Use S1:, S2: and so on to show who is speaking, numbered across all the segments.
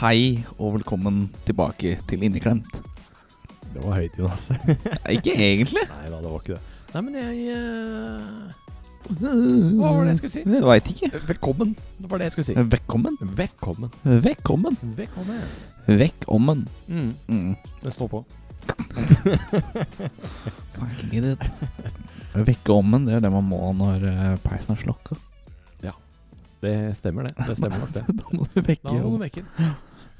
S1: Hei og velkommen tilbake til Inneklemt.
S2: Det var høyt, Jonas.
S1: Nei, Ikke egentlig.
S2: Nei da, det var ikke det. Nei, men jeg eh,
S1: Hva
S2: var det jeg skulle si?
S1: Veit ikke.
S2: Velkommen! Det var det jeg skulle si.
S1: Velkommen.
S2: Velkommen.
S1: Velkommen.
S2: Velkommen.
S1: Velkommen.
S2: Mm.
S1: Mm.
S2: Det står på.
S1: Kan ikke gi det. Velkommen, det er det man må når eh, peisen er slokka.
S2: Det stemmer, det. Det stemmer nok, det.
S1: Da må du
S2: Da
S1: vekke
S2: må du
S1: om.
S2: vekke den.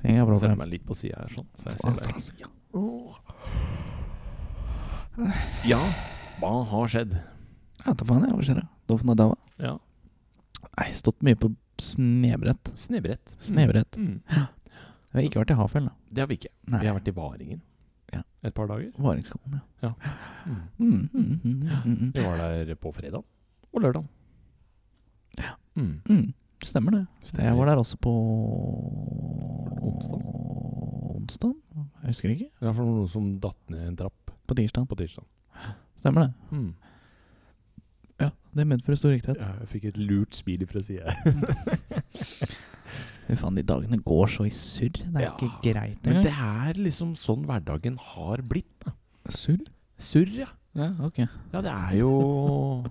S1: Ingen
S2: Ser jeg
S1: problem.
S2: meg litt på sida her, sånn. Så jeg ser deg.
S1: Hva
S2: Ja, hva har skjedd?
S1: faen, jeg. Hva skjer? Doffen er daua.
S2: Ja,
S1: Nei, stått mye på snebrett.
S2: snebrett.
S1: Snebrett.
S2: Mm.
S1: Jeg har ikke vært i Hafjell, da.
S2: Det har vi ikke.
S1: Nei.
S2: Vi har vært i Varingen
S1: Ja.
S2: et par dager.
S1: Varingskollen, ja.
S2: Mm.
S1: Mm, mm, mm, mm,
S2: Vi var der på fredag og lørdag. Mm.
S1: mm. Mm. Stemmer det. Jeg var der også på
S2: Onsdag?
S1: Onsdag? Jeg husker ikke.
S2: Ja, for det var noen som datt ned en trapp
S1: På tirsdag.
S2: på tirsdag.
S1: Stemmer det.
S2: Mm.
S1: Ja, Det medfører stor riktighet.
S2: Ja, jeg fikk et lurt smil fra sida.
S1: Fy faen, de dagene går så i surr. Det er
S2: Ja,
S1: ikke greit
S2: Men
S1: engang.
S2: det er liksom sånn hverdagen har blitt. da.
S1: Surr?
S2: Surr, ja.
S1: Ja, ok.
S2: Ja, det er jo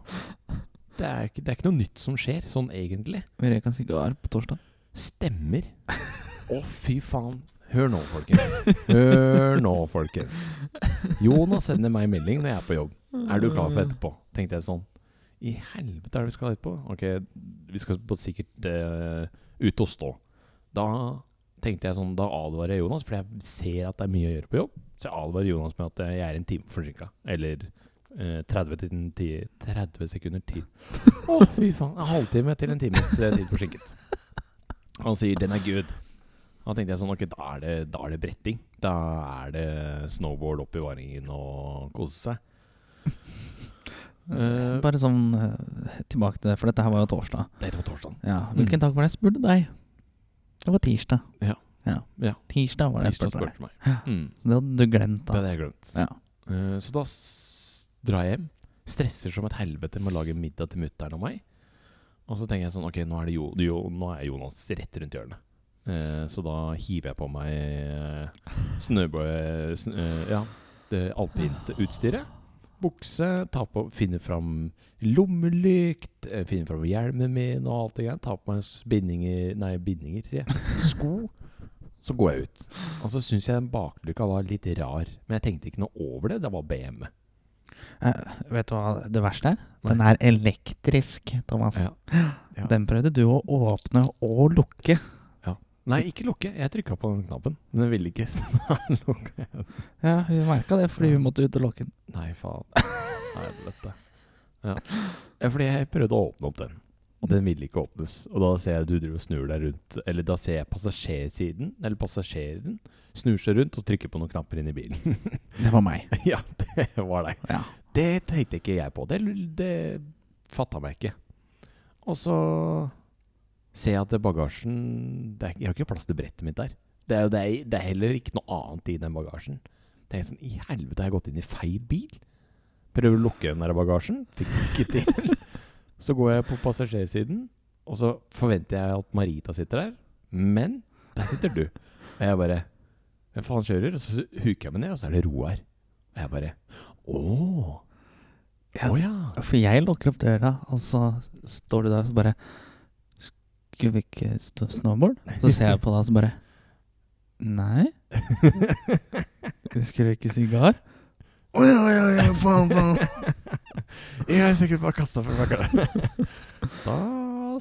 S2: det er, ikke, det er ikke noe nytt som skjer, sånn egentlig.
S1: Vi røyk en sigar på torsdag.
S2: Stemmer. Å, fy faen. Hør nå, folkens. Hør nå, folkens. Jonas sender meg melding når jeg er på jobb. Er du klar for etterpå? Tenkte jeg sånn. I helvete er det vi skal etterpå? Ok, vi skal på sikkert eh, ut og stå. Da tenkte jeg sånn, da advarer jeg Jonas, for jeg ser at det er mye å gjøre på jobb. Så jeg advarer Jonas med at eh, jeg er en time forsinka. Eller eh, 30, til en ti, 30 sekunder til. Å, fy faen. En halvtime til en times eh, tid forsinket. Han sier 'den er good'. Da tenkte jeg sånn, ok, da er det, da er det bretting. Da er det snowboard opp i varingen og kose seg. Eh,
S1: Bare sånn eh, tilbake til det, for dette her var jo torsdag.
S2: Dette var torsdagen.
S1: Ja,
S2: Mm.
S1: Hvilken dag var det jeg spurte deg? Det var tirsdag.
S2: Ja. Ja.
S1: Tirsdag var det jeg
S2: Tirsdag
S1: spurte deg.
S2: spurte meg.
S1: Ja.
S2: Mm.
S1: Så det hadde du glemt,
S2: Det
S1: da.
S2: hadde jeg glemt.
S1: Ja.
S2: Eh, så da s drar jeg hjem. Stresser som et helvete med å lage middag til mutter'n og meg. Og så tenker jeg sånn Ok, nå er, det jo, jo, nå er Jonas rett rundt hjørnet. Eh, så da hiver jeg på meg eh, snøbø... Sn eh, ja, det alpintutstyret. Bukse, tar på, finner fram lommelykt, eh, finner fram hjelmen min og alt det greiene. Tar på meg s- bindinger Nei, bindinger, sier jeg. Sko. Så går jeg ut. Og så syns jeg den baklykka var litt rar. Men jeg tenkte ikke noe over det. Det var BM.
S1: Eh, vet du hva det verste er? Den er elektrisk, Thomas.
S2: Ja. Ja.
S1: Den prøvde du å åpne og lukke.
S2: Nei, ikke lukke. Jeg trykka på den knappen. Men den ville ikke snart lukke. igjen.
S1: Ja, vi merka det, fordi vi måtte ut og lukke den.
S2: Nei, faen. Helvete. Ja. Ja, Fordi jeg prøvde å åpne opp den, og den ville ikke åpnes. Og da ser jeg du driver og snur deg rundt, eller da ser jeg passasjersiden, eller passasjeren, snur seg rundt og trykker på noen knapper inn i bilen.
S1: Det var meg.
S2: ja, det var deg.
S1: Ja.
S2: Det tenkte ikke jeg på. Det, det fatta meg ikke. Og så ser jeg at bagasjen det er, Jeg har ikke plass til brettet mitt der. Det er, jo- det, er, det er heller ikke noe annet i den bagasjen. Tenk sånn, I helvete, har jeg gått inn i feil bil? Prøver å lukke den der bagasjen. Fikk det ikke til. Så går jeg på passasjersiden, og så forventer jeg at Marita sitter der. Men der sitter du. Og jeg bare Hvem faen kjører? Og så huker jeg meg ned, og så er det Roar. Og jeg bare Åh
S1: Ja.
S2: Å ja.
S1: For jeg lukker opp døra, og så står du der og så bare Skulle vi ikke stå snowboard? Så ser jeg på deg og så bare Nei. Skulle vi ikke sigar?
S2: Oi, oi, oi, faen, faen. jeg er sikkert bare kasta for bakkeren. da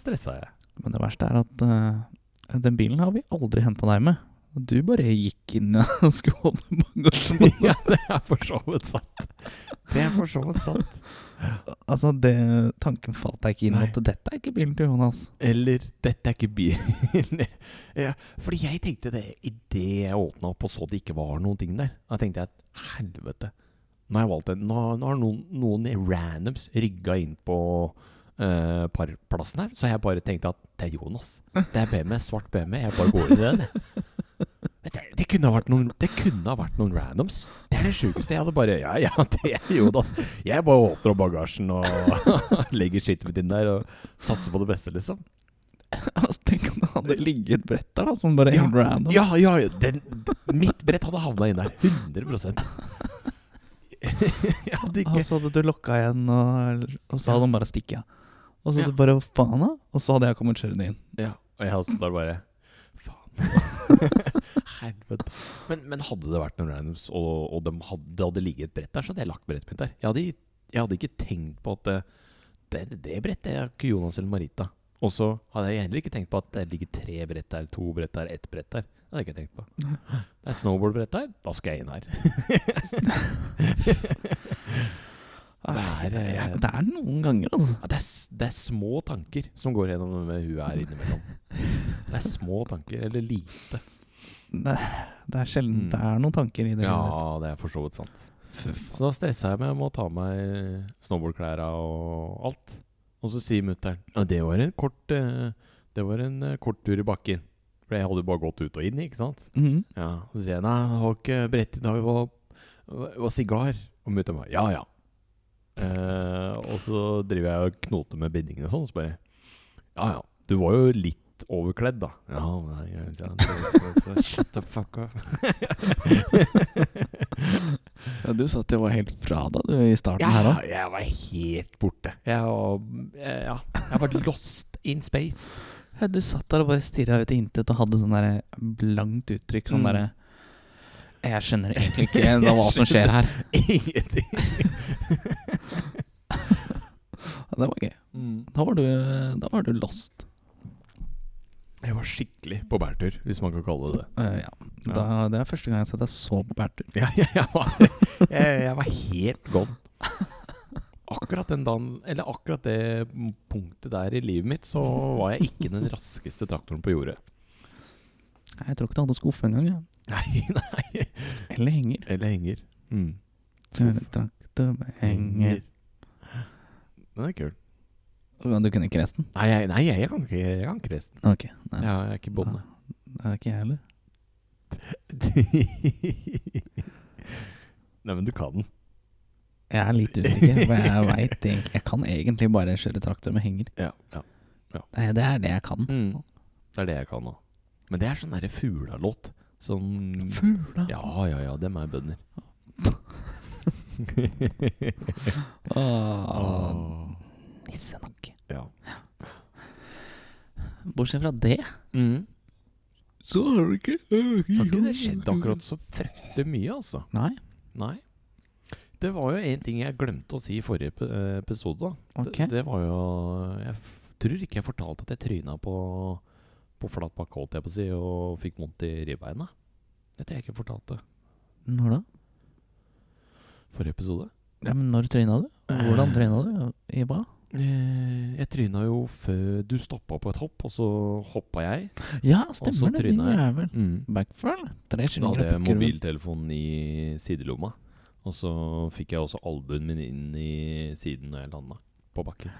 S2: stressa jeg.
S1: Men det verste er at eh, den bilen har vi aldri henta deg med. Og Du bare gikk inn og skulle holde bagasjen.
S2: ja, det er for så vidt sant. Det er for så vidt sant.
S1: Altså, det, tanken falt deg ikke inn
S2: Nei.
S1: at dette er ikke bilen til Jonas.
S2: Eller 'dette er ikke bilen'. ja, fordi jeg tenkte det idet jeg åpna opp og så det ikke var noen ting der. Da tenkte jeg at helvete, nå har jeg valgt en. Nå, nå har noen, noen randoms rygga inn på eh, parplassen her. Så jeg bare tenkte at det er Jonas. Det er BMW, svart BMW. Jeg bare går inn i den. jeg. Men Det, det, kunne ha vært noen, det kunne ha vært noen randoms. Det er det sjukeste. Jeg hadde bare Ja, ja, det er Jonas. Jeg bare åpner opp bagasjen og legger skittet mitt inn der og satser på det beste, liksom.
S1: Altså, tenk om det hadde ligget et brett der, da, sånn bare helt random.
S2: Ja, ja, ja, den, d- mitt brett hadde havna inn der. 100 Jeg hadde
S1: Og
S2: ikke
S1: så hadde du lokka igjen, og, og så hadde han bare stikket av. Og så hadde
S2: Ja.
S1: du bare "Hva faen, da? Og så hadde jeg kommet kjørende inn.
S2: ja, Og jeg hadde stått der bare Faen. Helvete. Men, men hadde det vært noen randoms, og, og de hadde, det hadde ligget et brett der, så hadde jeg lagt brettet mitt der. Jeg hadde, jeg hadde ikke tenkt på at eh, det, det brettet er ikke Jonas eller Marita. Og så hadde jeg heller ikke tenkt på at det ligger tre brett der, to brett der, ett brett der. Det hadde jeg ikke tenkt på. Det er et snowboardbrett der, da skal jeg inn her. Det er,
S1: Nei,
S2: eh,
S1: det er noen ganger, altså.
S2: Ja, det, er, s- det er små tanker som går gjennom det med huet her innimellom. Det er små tanker, eller lite.
S1: Det, det er sjelden
S2: Mm.
S1: det er noen tanker i det.
S2: Ja, det er for så vidt sant.
S1: Fy faen.
S2: Så da stressa jeg meg med å ta av meg snowboardklærne og alt. Og så sier mutter'n ja, det var en kort eh, Det var en eh, kort tur i bakken. For jeg hadde jo bare gått ut og inn, ikke sant?
S1: Mhm.
S2: Ja, Så sier jeg nei, det var ikke brett i dag, det var, det var sigar. Og mutter'n bare ja, ja. Eh, og så driver jeg og knoter med bindingene og sånn, så bare ja, ja. Du var jo litt overkledd, da. Ja, nei, jeg, jeg, Shut the fuck up.
S1: Ja, du sa at det var helt fra deg du, i starten her
S2: Ja,
S1: òg.
S2: jeg var helt borte. Jeg var, eh, ja, jeg var lost in space.
S1: Ja, du satt der og bare stirra ut i intet og hadde sånn der blankt uttrykk. Sånn
S2: Mm.
S1: derre Jeg skjønner egentlig ikke da hva som skjer her.
S2: Ingenting.
S1: Ja, det var gøy.
S2: Mm.
S1: Da var du, da var du lost.
S2: Jeg var skikkelig på bærtur, hvis man kan kalle det det.
S1: Eh, ja. Da, det er første gang jeg har sett deg så på bærtur.
S2: Ja, jeg, jeg, var, jeg, jeg var helt gone. Akkurat den dagen, eller akkurat det punktet der i livet mitt, så var jeg ikke den raskeste traktoren på jordet.
S1: Nei, Jeg tror ikke du hadde skuffe engang. Ja.
S2: Nei, nei.
S1: Eller henger.
S2: Eller henger. Mm.
S1: Traktor med henger
S2: Den er kul.
S1: Ja, Du kunne ikke resten?
S2: Nei, jeg, nei, jeg kan ikke, jeg kan ikke resten.
S1: Ok. Nei,
S2: Ja, jeg er ikke bonde.
S1: det er ikke jeg heller.
S2: Nei, men du kan den.
S1: Jeg er litt usikker, for jeg veit egentlig Jeg kan egentlig bare kjøre traktor med henger.
S2: Ja, ja.
S1: Det,
S2: Mm.
S1: det er det jeg kan.
S2: Det er det jeg kan nå. Men det er sånn derre fuglalåt. Sånn
S1: Fugla.
S2: Ja, ja, ja, dem er bønder.
S1: Åh, nissenakke.
S2: Ah, Ja.
S1: Bortsett fra det Så har du ikke
S2: Så har ikke det skjedd akkurat så fryktelig mye, altså.
S1: Nei?
S2: Nei. Det var jo en ting jeg glemte å si i forrige ep- eh, episode. da.
S1: Ok.
S2: Det, det var jo Jeg f tror ikke jeg fortalte at jeg tryna på, på flat bakke, holdt jeg på å si, og fikk vondt i ribbeina. Det tror jeg ikke jeg fortalte.
S1: Når da?
S2: Forrige episode?
S1: Ja, Eh. men når tryna du? Hvordan tryna du? I hva?
S2: Eh, Jeg tryna jo før Du stoppa på et hopp, og så hoppa jeg.
S1: Ja,
S2: så
S1: stemmer det. Din
S2: tryna jeg.
S1: jævel. Backfall? Tre
S2: Da hadde
S1: skillinger
S2: jeg
S1: på kurven.
S2: mobiltelefonen i sidelomma. Og så fikk jeg også albuen min inn i siden når jeg landa på bakken.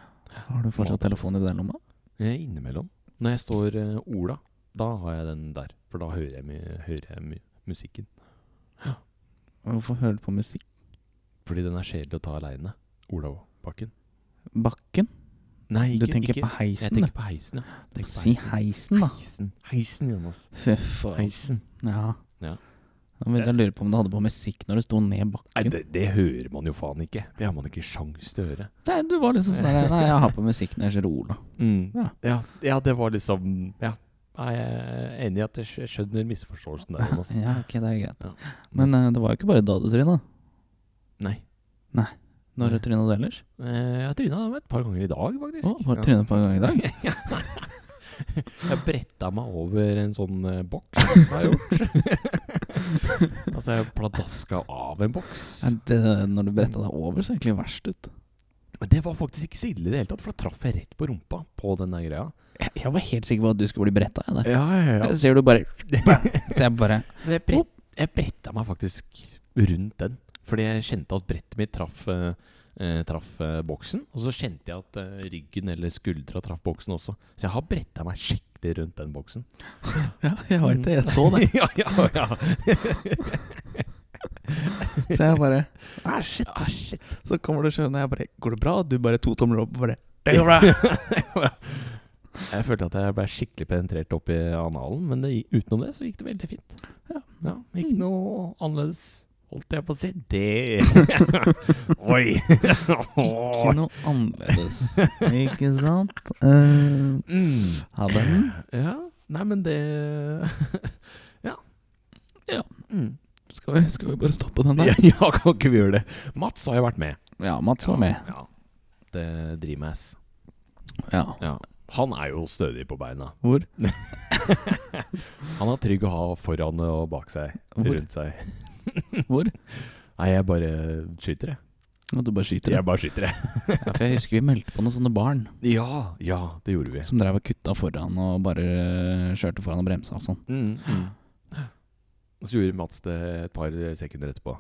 S1: Har du fortsatt telefonen i den lomma?
S2: Eh, Innimellom. Når jeg står eh, Ola, da har jeg den der. For da hører jeg, mye- hører jeg mye musikken.
S1: Hvorfor hører du på musikk?
S2: Fordi den er kjedelig å ta aleine. Olabakken.
S1: Bakken?
S2: Nei,
S1: Du tenker på
S2: Jeg
S1: heisen, du.
S2: tenker på heisen, ja. Jeg tenker på
S1: Si heisen, da.
S2: Heisen. Heisen, Jonas.
S1: Fy faen.
S2: Heisen.
S1: Ja.
S2: Ja.
S1: Da begynte jeg å lure på om du hadde på musikk når du sto ned
S2: Nei,
S1: bakken.
S2: det, det hører man jo faen ikke. Det har man ikke sjans til å høre.
S1: Nei, du var liksom sånn her, Nei, jeg har på musikk når jeg kjører Ola.
S2: Ja.
S1: Ja.
S2: Mm. Ja, det var liksom Ja. Nei, Jeg er enig i at jeg skj- skjønner misforståelsen der, Jonas.
S1: Ja, ok, det er greit.
S2: Ja.
S1: Men eh, det var jo ikke bare da du tryna.
S2: Nei.
S1: Når
S2: Nei.
S1: tryna du ellers?
S2: Eh, Jeg tryna dem et par ganger i dag, faktisk.
S1: Å, var det trynet på en gang i dag?
S2: Jeg bretta meg over en sånn eh, boks, har jeg gjort. altså, jeg pladaska av en boks.
S1: Nei, det- Når du bretta deg over, så egentlig verst ut.
S2: Men Det var faktisk ikke så ille i det hele tatt, for da traff jeg rett på rumpa på den der greia.
S1: Jeg, jeg var helt sikker på at du skulle bli bretta. Jeg, der.
S2: Ja, ja,
S1: Jeg ser du bare Så jeg bare
S2: Men jeg, brett, jeg bretta meg faktisk rundt den. Fordi jeg kjente at brettet mitt traff, eh, eh, traff eh, boksen. Og så kjente jeg at eh, ryggen eller skuldra traff boksen også. Så jeg har bretta meg skikkelig rundt den boksen.
S1: Ja, jeg
S2: vet det, jeg så
S1: det.
S2: ja, ja, ja.
S1: Så jeg bare Æh, Ah, shit. Så kommer du skjønne, jeg bare Går det bra? Du bare to tomler opp og bare Det går bra.
S2: Jeg følte at jeg ble skikkelig penetrert opp i analen, men det, gi- utenom det så gikk det veldig fint. Ja, ja Ikke noe annerledes, holdt jeg på å si. Det Oi!
S1: Ikke noe annerledes. Ikke sant? Eh,
S2: Mm.
S1: ha den.
S2: Ja. Nei, men det Ja.
S1: Ja.
S2: Mm.
S1: Skal vi, skal vi bare stoppe den
S2: Ja,
S1: der?
S2: ja, kan ikke vi gjøre det? Mats har jo vært med.
S1: Ja, Mats var med.
S2: Ja. Det Dreamass.
S1: Ja.
S2: Ja. Han er jo stødig på beina.
S1: Hvor?
S2: Han er trygg å ha foran og bak seg.
S1: Hvor?
S2: Rundt seg.
S1: Hvor?
S2: Nei, jeg bare skyter, jeg.
S1: Nå, du bare skyter.
S2: Jeg bare skyter, jeg.
S1: Ja, for jeg husker vi meldte på noen sånne barn
S2: Ja, ja, det gjorde vi.
S1: som drev og kutta foran og bare kjørte foran og bremsa og sånn.
S2: Mm, mm. Og så gjorde Mats det et par sekunder etterpå.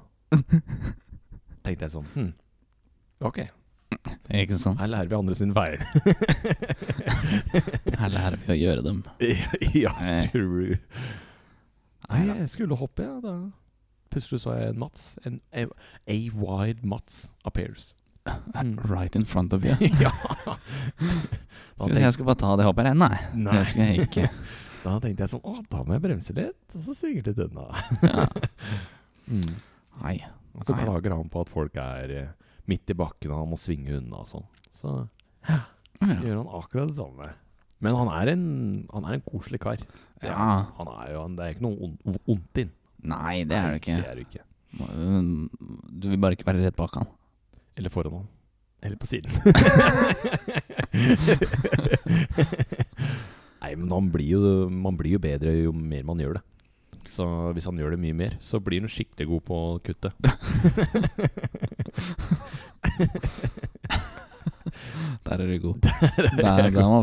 S2: Tenkte jeg sånn hm. Ok,
S1: Ikke sant?
S2: her lærer vi andre sine veier.
S1: Her lærer vi å gjøre dem.
S2: ja,
S1: Nei.
S2: true. Nei,
S1: Neida.
S2: jeg skulle hoppe, ja. Da plutselig så jeg en Mats. En A- A-wide Mats appears.
S1: Right in front of you.
S2: ja. Da
S1: Skal vi se, jeg skal bare ta det hoppet her. Nei,
S2: tenkte- Nei.
S1: det skal jeg ikke.
S2: Da tenkte jeg sånn Å, da må jeg bremse litt. Og så svinger det litt unna.
S1: Ja.
S2: Mm.
S1: Nei.
S2: Og så
S1: Nei.
S2: klager han på at folk er eh, midt i bakken, og han må svinge unna og sånn. Så
S1: Ja.
S2: gjør han akkurat det samme. Men han er en, han er en koselig kar. Det er
S1: Ja.
S2: han. Han er jo, han- det er ikke noe ond- ondt inn.
S1: Nei, det er det ikke.
S2: Det er det ikke.
S1: Mm, Du vil bare ikke være rett bak han.
S2: Eller foran han. Eller på siden. Nei, men han blir jo, man blir jo bedre jo mer man gjør det. Så hvis han gjør det mye mer, så blir han skikkelig god på å kutte.
S1: Der er du god. Der, der var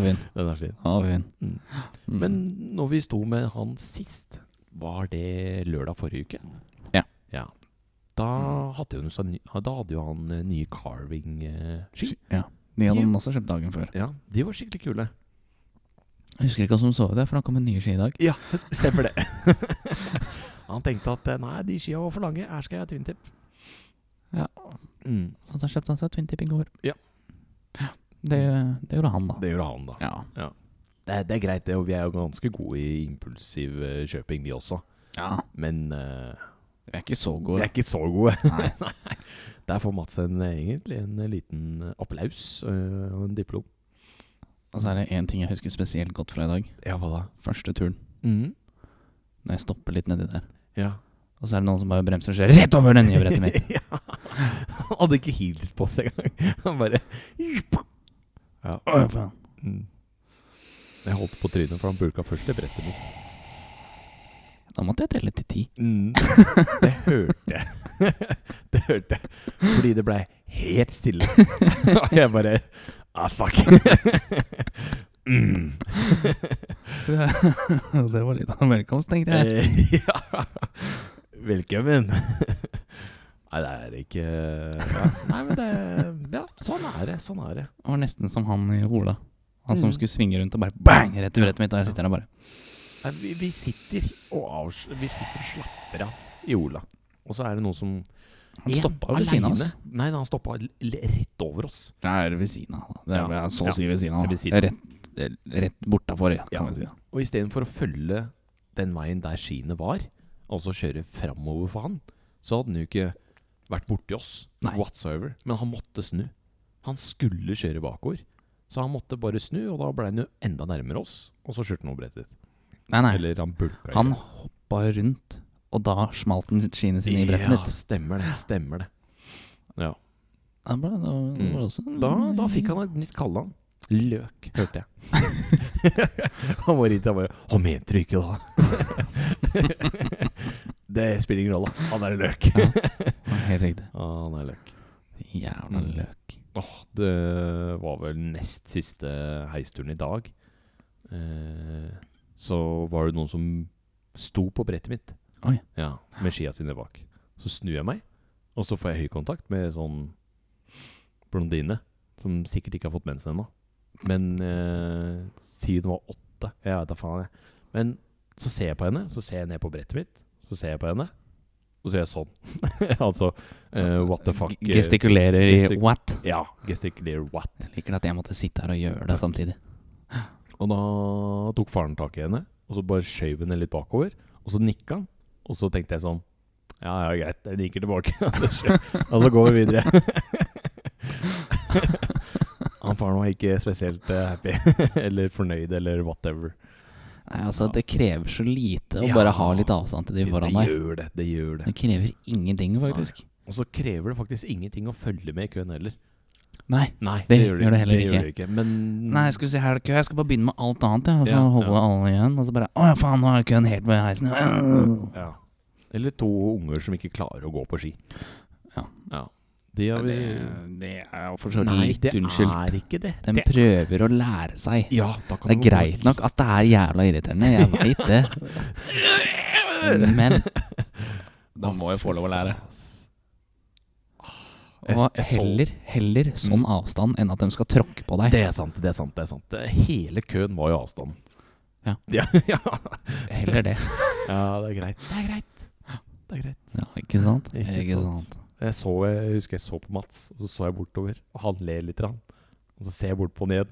S1: vi fin.
S2: Den er fin.
S1: Der var vi fin.
S2: Mm.
S1: Mm.
S2: Men når vi sto med han sist, var det lørdag forrige uke?
S1: Ja.
S2: Da hadde jo, han sånn- da hadde jo han eh, nye carving-ski.
S1: Ja. De hadde den også kjøpt dagen før.
S2: Ja, de var skikkelig kule.
S1: Jeg husker ikke hva som så det, for han kom med nye ski i dag.
S2: Ja, stemmer det. han tenkte at eh, nei, de skia var for lange, her skal jeg ha twintip.
S1: Ja.
S2: Mm.
S1: Så da kjøpte han seg twin tip i går.
S2: Ja.
S1: Ja, Det, det gjorde han, da.
S2: Det gjorde han, da.
S1: Ja.
S2: Det, det er greit, det, og vi er jo ganske gode i impulsiv eh, kjøping, vi også.
S1: ja.
S2: Men eh,
S1: Vi er ikke så
S2: vi
S1: gode.
S2: er ikke så gode.
S1: Nei.
S2: Der får Mats en, eh, egentlig en eh, liten eh, applaus eh, og en diplom.
S1: Og så er det én ting jeg husker spesielt godt fra i dag.
S2: Ja, hva da?
S1: Første turen. Når jeg stopper litt nedi der.
S2: Mm. Ja.
S1: Og så er det noen som bare bremser og kjører rett over det nye brettet mitt.
S2: ja. Han hadde ikke hilst på oss engang. Han bare ja.
S1: Å, faen.
S2: Mm. Jeg holdt på trynet, for han bulka først i brettet mitt.
S1: Da måtte jeg telle til ti.
S2: Mm. Det hørte jeg. Det hørte jeg. Fordi det blei helt stille. Og jeg bare Ah, fuck. Mm.
S1: det var litt av en velkomst, tenkte jeg.
S2: Eh, ja. Velkommen. Nei, det er ikke ja. Nei, men det Ja, sånn er det. Sånn er det.
S1: Det var nesten som han i Ola. Han som
S2: Mm.
S1: skulle svinge rundt og bare bang! Rett i brettet mitt. Og jeg sitter der og bare
S2: Nei, vi, vi sitter og avs... Vi sitter og slapper av i Ola. Og så er det noen som
S1: Han
S2: En
S1: stoppa ved siden av oss.
S2: alene. Nei, nei, han stoppa l- l- rett over oss.
S1: Det er ved siden av. da. Det er
S2: Ja.
S1: så
S2: Ja.
S1: å si ved siden av.
S2: Det er
S1: da.
S2: ved siden.
S1: Rett, det er rett bortafor, ja,
S2: Ja.
S1: kan man si. da.
S2: Og istedenfor å følge den veien der skiene var, altså kjøre framover for han, så hadde han jo ikke vært borti oss
S1: Nei.
S2: whatsoever. Men han måtte snu. Han skulle kjøre bakover. Så han måtte bare snu, og da ble han jo enda nærmere oss. Og så kjørte han over brettet.
S1: Nei, nei.
S2: Eller han bulka. i
S1: Han
S2: det.
S1: hoppa rundt, og da smalt han skiene sine i brettet
S2: Ja,
S1: mitt.
S2: stemmer det. Stemmer det. Ja.
S1: Da ble- da var det
S2: Mm.
S1: også en-
S2: Da, da fikk han et nytt kallenavn. Løk, hørte jeg. han var redd jeg bare Han mente det ikke, da. det spiller ingen rolle. Han er løk.
S1: Ja, Helt riktig.
S2: Han er løk.
S1: Jævla
S2: Mm.
S1: løk.
S2: Åh, det var vel nest siste heisturen i dag. Eh, så var det noen som sto på brettet mitt
S1: Oi.
S2: Ja, med skia sine bak. Så snur jeg meg, og så får jeg høykontakt med sånn blondine som sikkert ikke har fått mensen ennå. Men eh, si hun var åtte. Jeg vet da faen. jeg. Men så ser jeg på henne, så ser jeg ned på brettet mitt, så ser jeg på henne, og så gjør jeg sånn. altså eh, what the fuck. eh,
S1: G- Gestikulerer i
S2: gestik-
S1: what?
S2: Ja, gesticulate what?
S1: Jeg liker at jeg måtte sitte her og gjøre det samtidig.
S2: Og da tok faren tak i henne, og så bare skjøv henne litt bakover. Og så nikka han, og så tenkte jeg sånn Ja, ja, greit, jeg nikker tilbake. Og så, skjø- og så går vi videre. han faren var ikke spesielt eh, happy eller fornøyd eller whatever.
S1: Nei, altså, det krever så lite å
S2: Ja.
S1: bare ha litt avstand til de foran
S2: det
S1: deg.
S2: gjør det. Det gjør det.
S1: Det krever ingenting, faktisk.
S2: Og så krever det faktisk ingenting å følge med i køen heller.
S1: Nei.
S2: Nei,
S1: Det gjør det heller
S2: gjør det ikke. Men
S1: Nei, jeg skulle si her er det kø. Jeg skal bare begynne med alt annet, jeg. Og så
S2: Ja,
S1: holde
S2: ja.
S1: alle igjen. Og så bare Å ja, faen, nå er køen helt ved heisen.
S2: Ja. Eller to unger som ikke klarer å gå på ski.
S1: Ja.
S2: De har vi
S1: det er jo for så
S2: Nei,
S1: vidt
S2: det
S1: unnskyldt.
S2: er ikke det.
S1: Den
S2: det
S1: prøver å lære seg.
S2: ja, da kan
S1: Det er
S2: du-
S1: greit nok at det er jævla irriterende, jeg veit det. Men
S2: Da må jeg få lov å lære. Jeg-
S1: og
S2: jeg så-
S1: heller, heller sånn avstand enn at de skal tråkke på deg.
S2: Det er sant, det er sant. det er sant Det- Hele køen var jo avstanden.
S1: Ja.
S2: Ja, ja.
S1: Heller det.
S2: ja, det er greit. Det er greit. Det er greit.
S1: Ja, ikke sant?
S2: Ikke sant. Jeg, så, jeg husker jeg så på Mats, og så så jeg bortover. Og han ler litt. grann. Og så ser jeg bort på han igjen.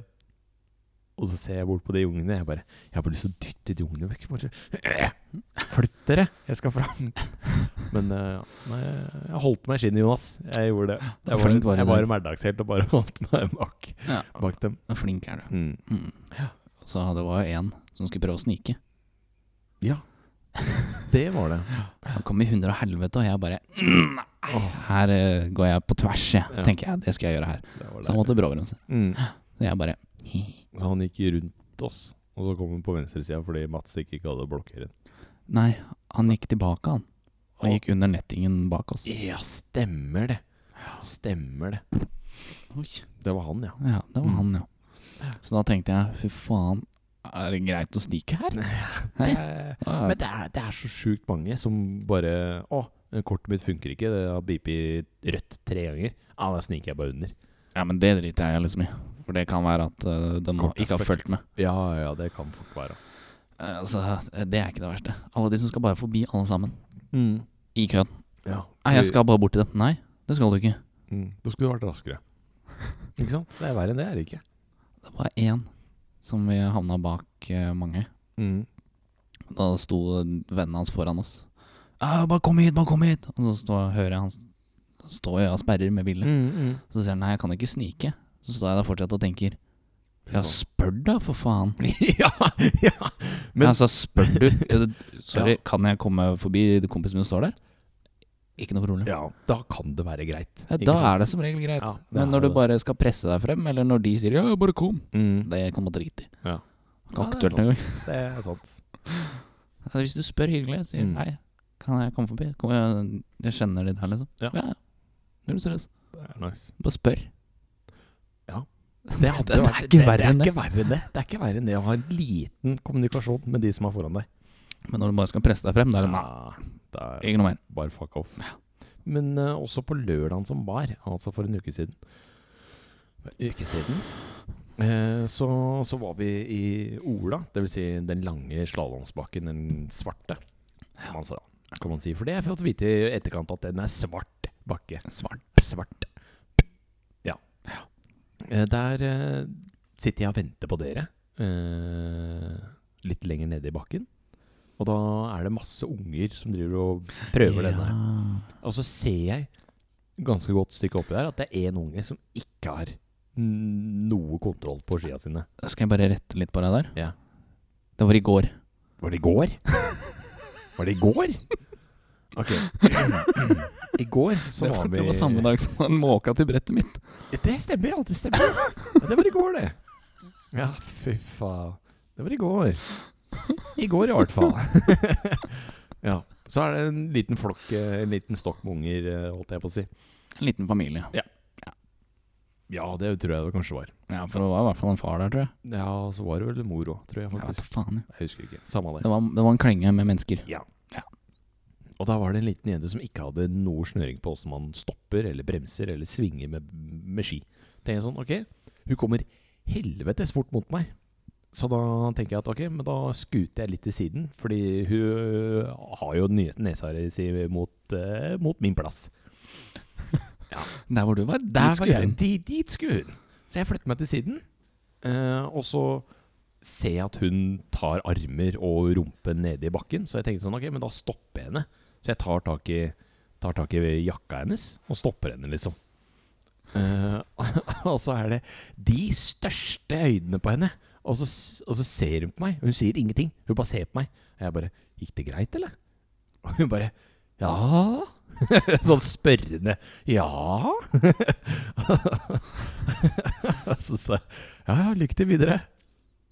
S2: Og så ser jeg bort på de ungene. Jeg bare Jeg har bare lyst til å dytte de ungene vekk. Bare, «Eh, Flytt dere! Jeg skal fram. Men eh, ja. Nei, jeg holdt meg i skinnet, Jonas. Jeg gjorde det. Jeg var,
S1: Flink var du
S2: jeg var
S1: der.
S2: en hverdagshelt og bare holdt meg bak,
S1: Ja,
S2: bak dem.
S1: og flink er du.
S2: Mm.
S1: Mm. Så det var jo en som skulle prøve å snike.
S2: Ja. Det var det.
S1: Han kom i hundre og helvete, og jeg bare «Mm, Nei, her eh, går jeg på tvers, jeg.
S2: Ja.
S1: Tenker jeg, det skal jeg gjøre her.
S2: det var
S1: Så han måtte bråbremse.
S2: Mm.
S1: Så jeg bare hi, hi.
S2: Så han gikk rundt oss, og så kom han på venstresida fordi Mats ikke gadd å blokkere.
S1: Nei, han gikk tilbake, han. Og gikk under nettingen bak oss.
S2: Ja, stemmer det. Stemmer det. Det var han, ja.
S1: Ja, det var
S2: Mm.
S1: han, ja. Så da tenkte jeg, fy faen, er det greit å snike her? Hæ? Ja,
S2: Men det er, det er så sjukt mange som bare Å, kortet mitt funker ikke. Det har beepet rødt tre ganger. Ja, da sniker jeg bare under.
S1: ja, men det driter jeg liksom i. For det kan være at eh, de
S2: Kort er
S1: ikke har
S2: fucked.
S1: fulgt med.
S2: Ja, ja, det kan fort være.
S1: Eh, Altså, eh, det er ikke det verste. Alle de som skal bare forbi alle sammen
S2: Mm.
S1: i køen.
S2: Ja.
S1: Nei, jeg skal bare bort til dem. Nei, det skal du ikke.
S2: mm, Da skulle du vært raskere. Ikke sant? Det er verre enn det, er det ikke?
S1: Det var én som vi havna bak eh, mange.
S2: Mm.
S1: Da sto vennen hans foran oss. «Ja, 'Bare kom hit, bare kom hit!' Og så står, hører jeg han s- står jeg og sperrer med
S2: Mm.
S1: bilen. Så sier han 'nei, jeg kan ikke snike'. Så står jeg der fortsatt og tenker 'ja, spør da, for faen'.
S2: ja, ja. Men-
S1: ja, altså, spør du eh,
S2: Ja.
S1: 'Sorry, kan jeg komme forbi kompisen min som står der?' Ikke noe problem.
S2: ja, da kan det være greit.
S1: Ja,
S2: Ikke
S1: da
S2: sant?
S1: er det som regel greit.
S2: Ja, det
S1: Men
S2: er
S1: når du
S2: det.
S1: bare skal presse deg frem, eller når de sier 'ja, bare kom',
S2: mm.
S1: det kan man drite i.
S2: Ja.
S1: Ikke
S2: Ja, det er
S1: aktuelt
S2: sant.
S1: engang.
S2: Det er sant.
S1: Altså, hvis du spør hyggelig, sier
S2: Mm.
S1: hei, kan jeg komme forbi? Kom, jeg, jeg kjenner litt her, liksom.
S2: Ja.
S1: ja. Null stress.
S2: Det er nice.
S1: Bare spør.
S2: Ja.
S1: Det,
S2: hadde
S1: det, det
S2: vært-
S1: er ikke verre enn
S2: det.
S1: det.
S2: er ikke verre enn det. Det er ikke verre enn det å ha en liten kommunikasjon med de som er foran deg.
S1: Men når du bare skal presse deg frem, da er det nei.
S2: Ja, det er
S1: Ikke noe mer.
S2: bare fuck off. Men eh, også på lørdagen som var, altså for en uke siden En uke siden eh, så, så var vi i Ola, dvs. Si den lange slalåmsbakken, den svarte, kan man, si, kan man si. For det har jeg fått vite i etterkant, at den er svart bakke.
S1: Svart.
S2: Svart. Ja. Eh, Der eh, sitter jeg og venter på dere. eh, litt lenger nede i bakken. Og da er det masse unger som driver og prøver denne. Og så ser jeg ganske godt stykke oppi der at det er én unge som ikke har n- noe kontroll på skia sine.
S1: Da skal jeg bare rette litt på deg der.
S2: Ja.
S1: Det var i går.
S2: Var det i går? Var det i går? Ok. I går så var vi
S1: det var samme dag som han måka til brettet mitt.
S2: Det stemmer, ja. Det stemmer. Ja, det var i går, det. Ja, fy faen. Det var i går. I går, i hvert fall. ja. Så er det en liten flokk, eh, en liten stokk med unger, eh, holdt jeg på å si.
S1: En liten familie.
S2: Ja, det tror jeg det kanskje var.
S1: Ja, for det var i hvert fall en far der, tror jeg.
S2: Ja, og så var det vel mor òg, tror jeg
S1: Jeg vet
S2: faktisk.
S1: da faen, jeg.
S2: Jeg husker ikke. Samme det.
S1: Det var, det var en klenge med mennesker.
S2: Og da var det en liten jente som ikke hadde noe snøring på hvordan man stopper eller bremser eller svinger med, med ski. Tenker jeg sånn, ok, hun kommer helvetes fort mot meg. Så da tenker jeg at ok, men da skuter jeg litt til siden, fordi hun har jo nye- nesa si mot, eh, mot min plass.
S1: Der hvor du var,
S2: Der
S1: dit
S2: var
S1: skulle
S2: jeg.
S1: hun.
S2: Dit, dit skulle hun. Så jeg flytter meg til siden, eh, og så ser jeg at hun tar armer og rumpe nede i bakken. Så jeg tenkte sånn, ok, men da stopper jeg henne. Så jeg tar tak i, tar tak i jakka hennes og stopper henne, liksom. Eh, og så er det de største øynene på henne. Og så, s- og så ser hun på meg, og hun sier ingenting. Hun bare ser på meg. Og jeg bare 'Gikk det greit, eller?' Og hun bare 'Ja'. sånn spørrende 'Ja'. Og så sa jeg 'Ja, ja, lykke til videre'.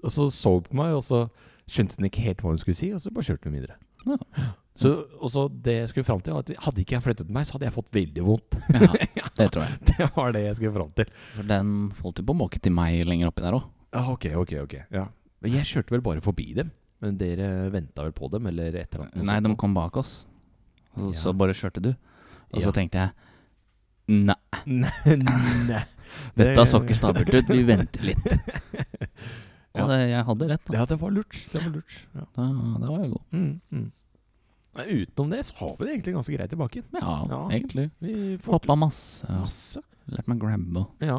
S2: Og så så hun på meg, og så skjønte hun ikke helt hva hun skulle si, og så bare kjørte hun videre.
S1: Ja.
S2: Så, og så det jeg skulle fram til, var at hadde ikke jeg flyttet meg, så hadde jeg fått veldig vondt.
S1: Ja, det tror jeg.
S2: det var det jeg skulle fram til.
S1: For den holdt jo på å måke til meg lenger oppi der òg.
S2: Ja, ok, ok, ok ja. Men Jeg kjørte vel bare forbi dem Men dere ventet vel på dem Eller et eller annet
S1: Nei, de kom bak oss. Og
S2: Ja.
S1: så bare kjørte du. Og
S2: Ja.
S1: så tenkte jeg Nei,
S2: Nei, nei
S1: dette så ikke stabelt ut. Vi venter litt.
S2: Ja.
S1: Og det, jeg hadde rett. da
S2: Ja, det var lurt Det var lurt ja.
S1: Da, da var jeg god.
S2: mm, mm. Nei, utenom det så har vi det egentlig ganske greit i bakken
S1: Ja,
S2: Ja.
S1: egentlig.
S2: Vi får til
S1: Hoppa masse. Ja.
S2: masse
S1: Lært meg grabbe.
S2: Ja,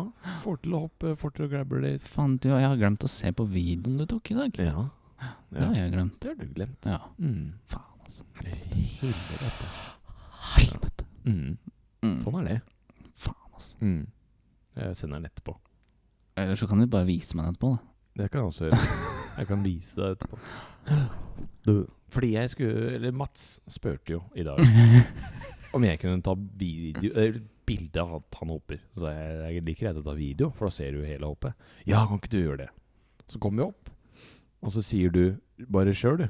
S2: får til å hoppe, får til å grabbe litt
S1: Faen, du, jeg har glemt å se på videoen du tok i dag.
S2: Ja,
S1: Det har jeg glemt.
S2: det har du glemt
S1: Ja,
S2: mm.
S1: faen altså.
S2: Helvete
S1: Helvete.
S2: mm.
S1: Mm.
S2: Sånn er det
S1: Faen altså.
S2: mm. Jeg sender den etterpå
S1: Eller så kan du bare vise meg den etterpå, da.
S2: Det kan jeg også gjøre. Jeg kan vise deg etterpå. Fordi jeg skulle Eller Mats spurte jo i dag om jeg kunne ta video eller bilde av at han hopper. Så sa jeg jeg liker greit å ta video, for da ser du hele hoppet. Ja, kan ikke du gjøre det? Så kom vi opp, og så sier du bare kjør, du.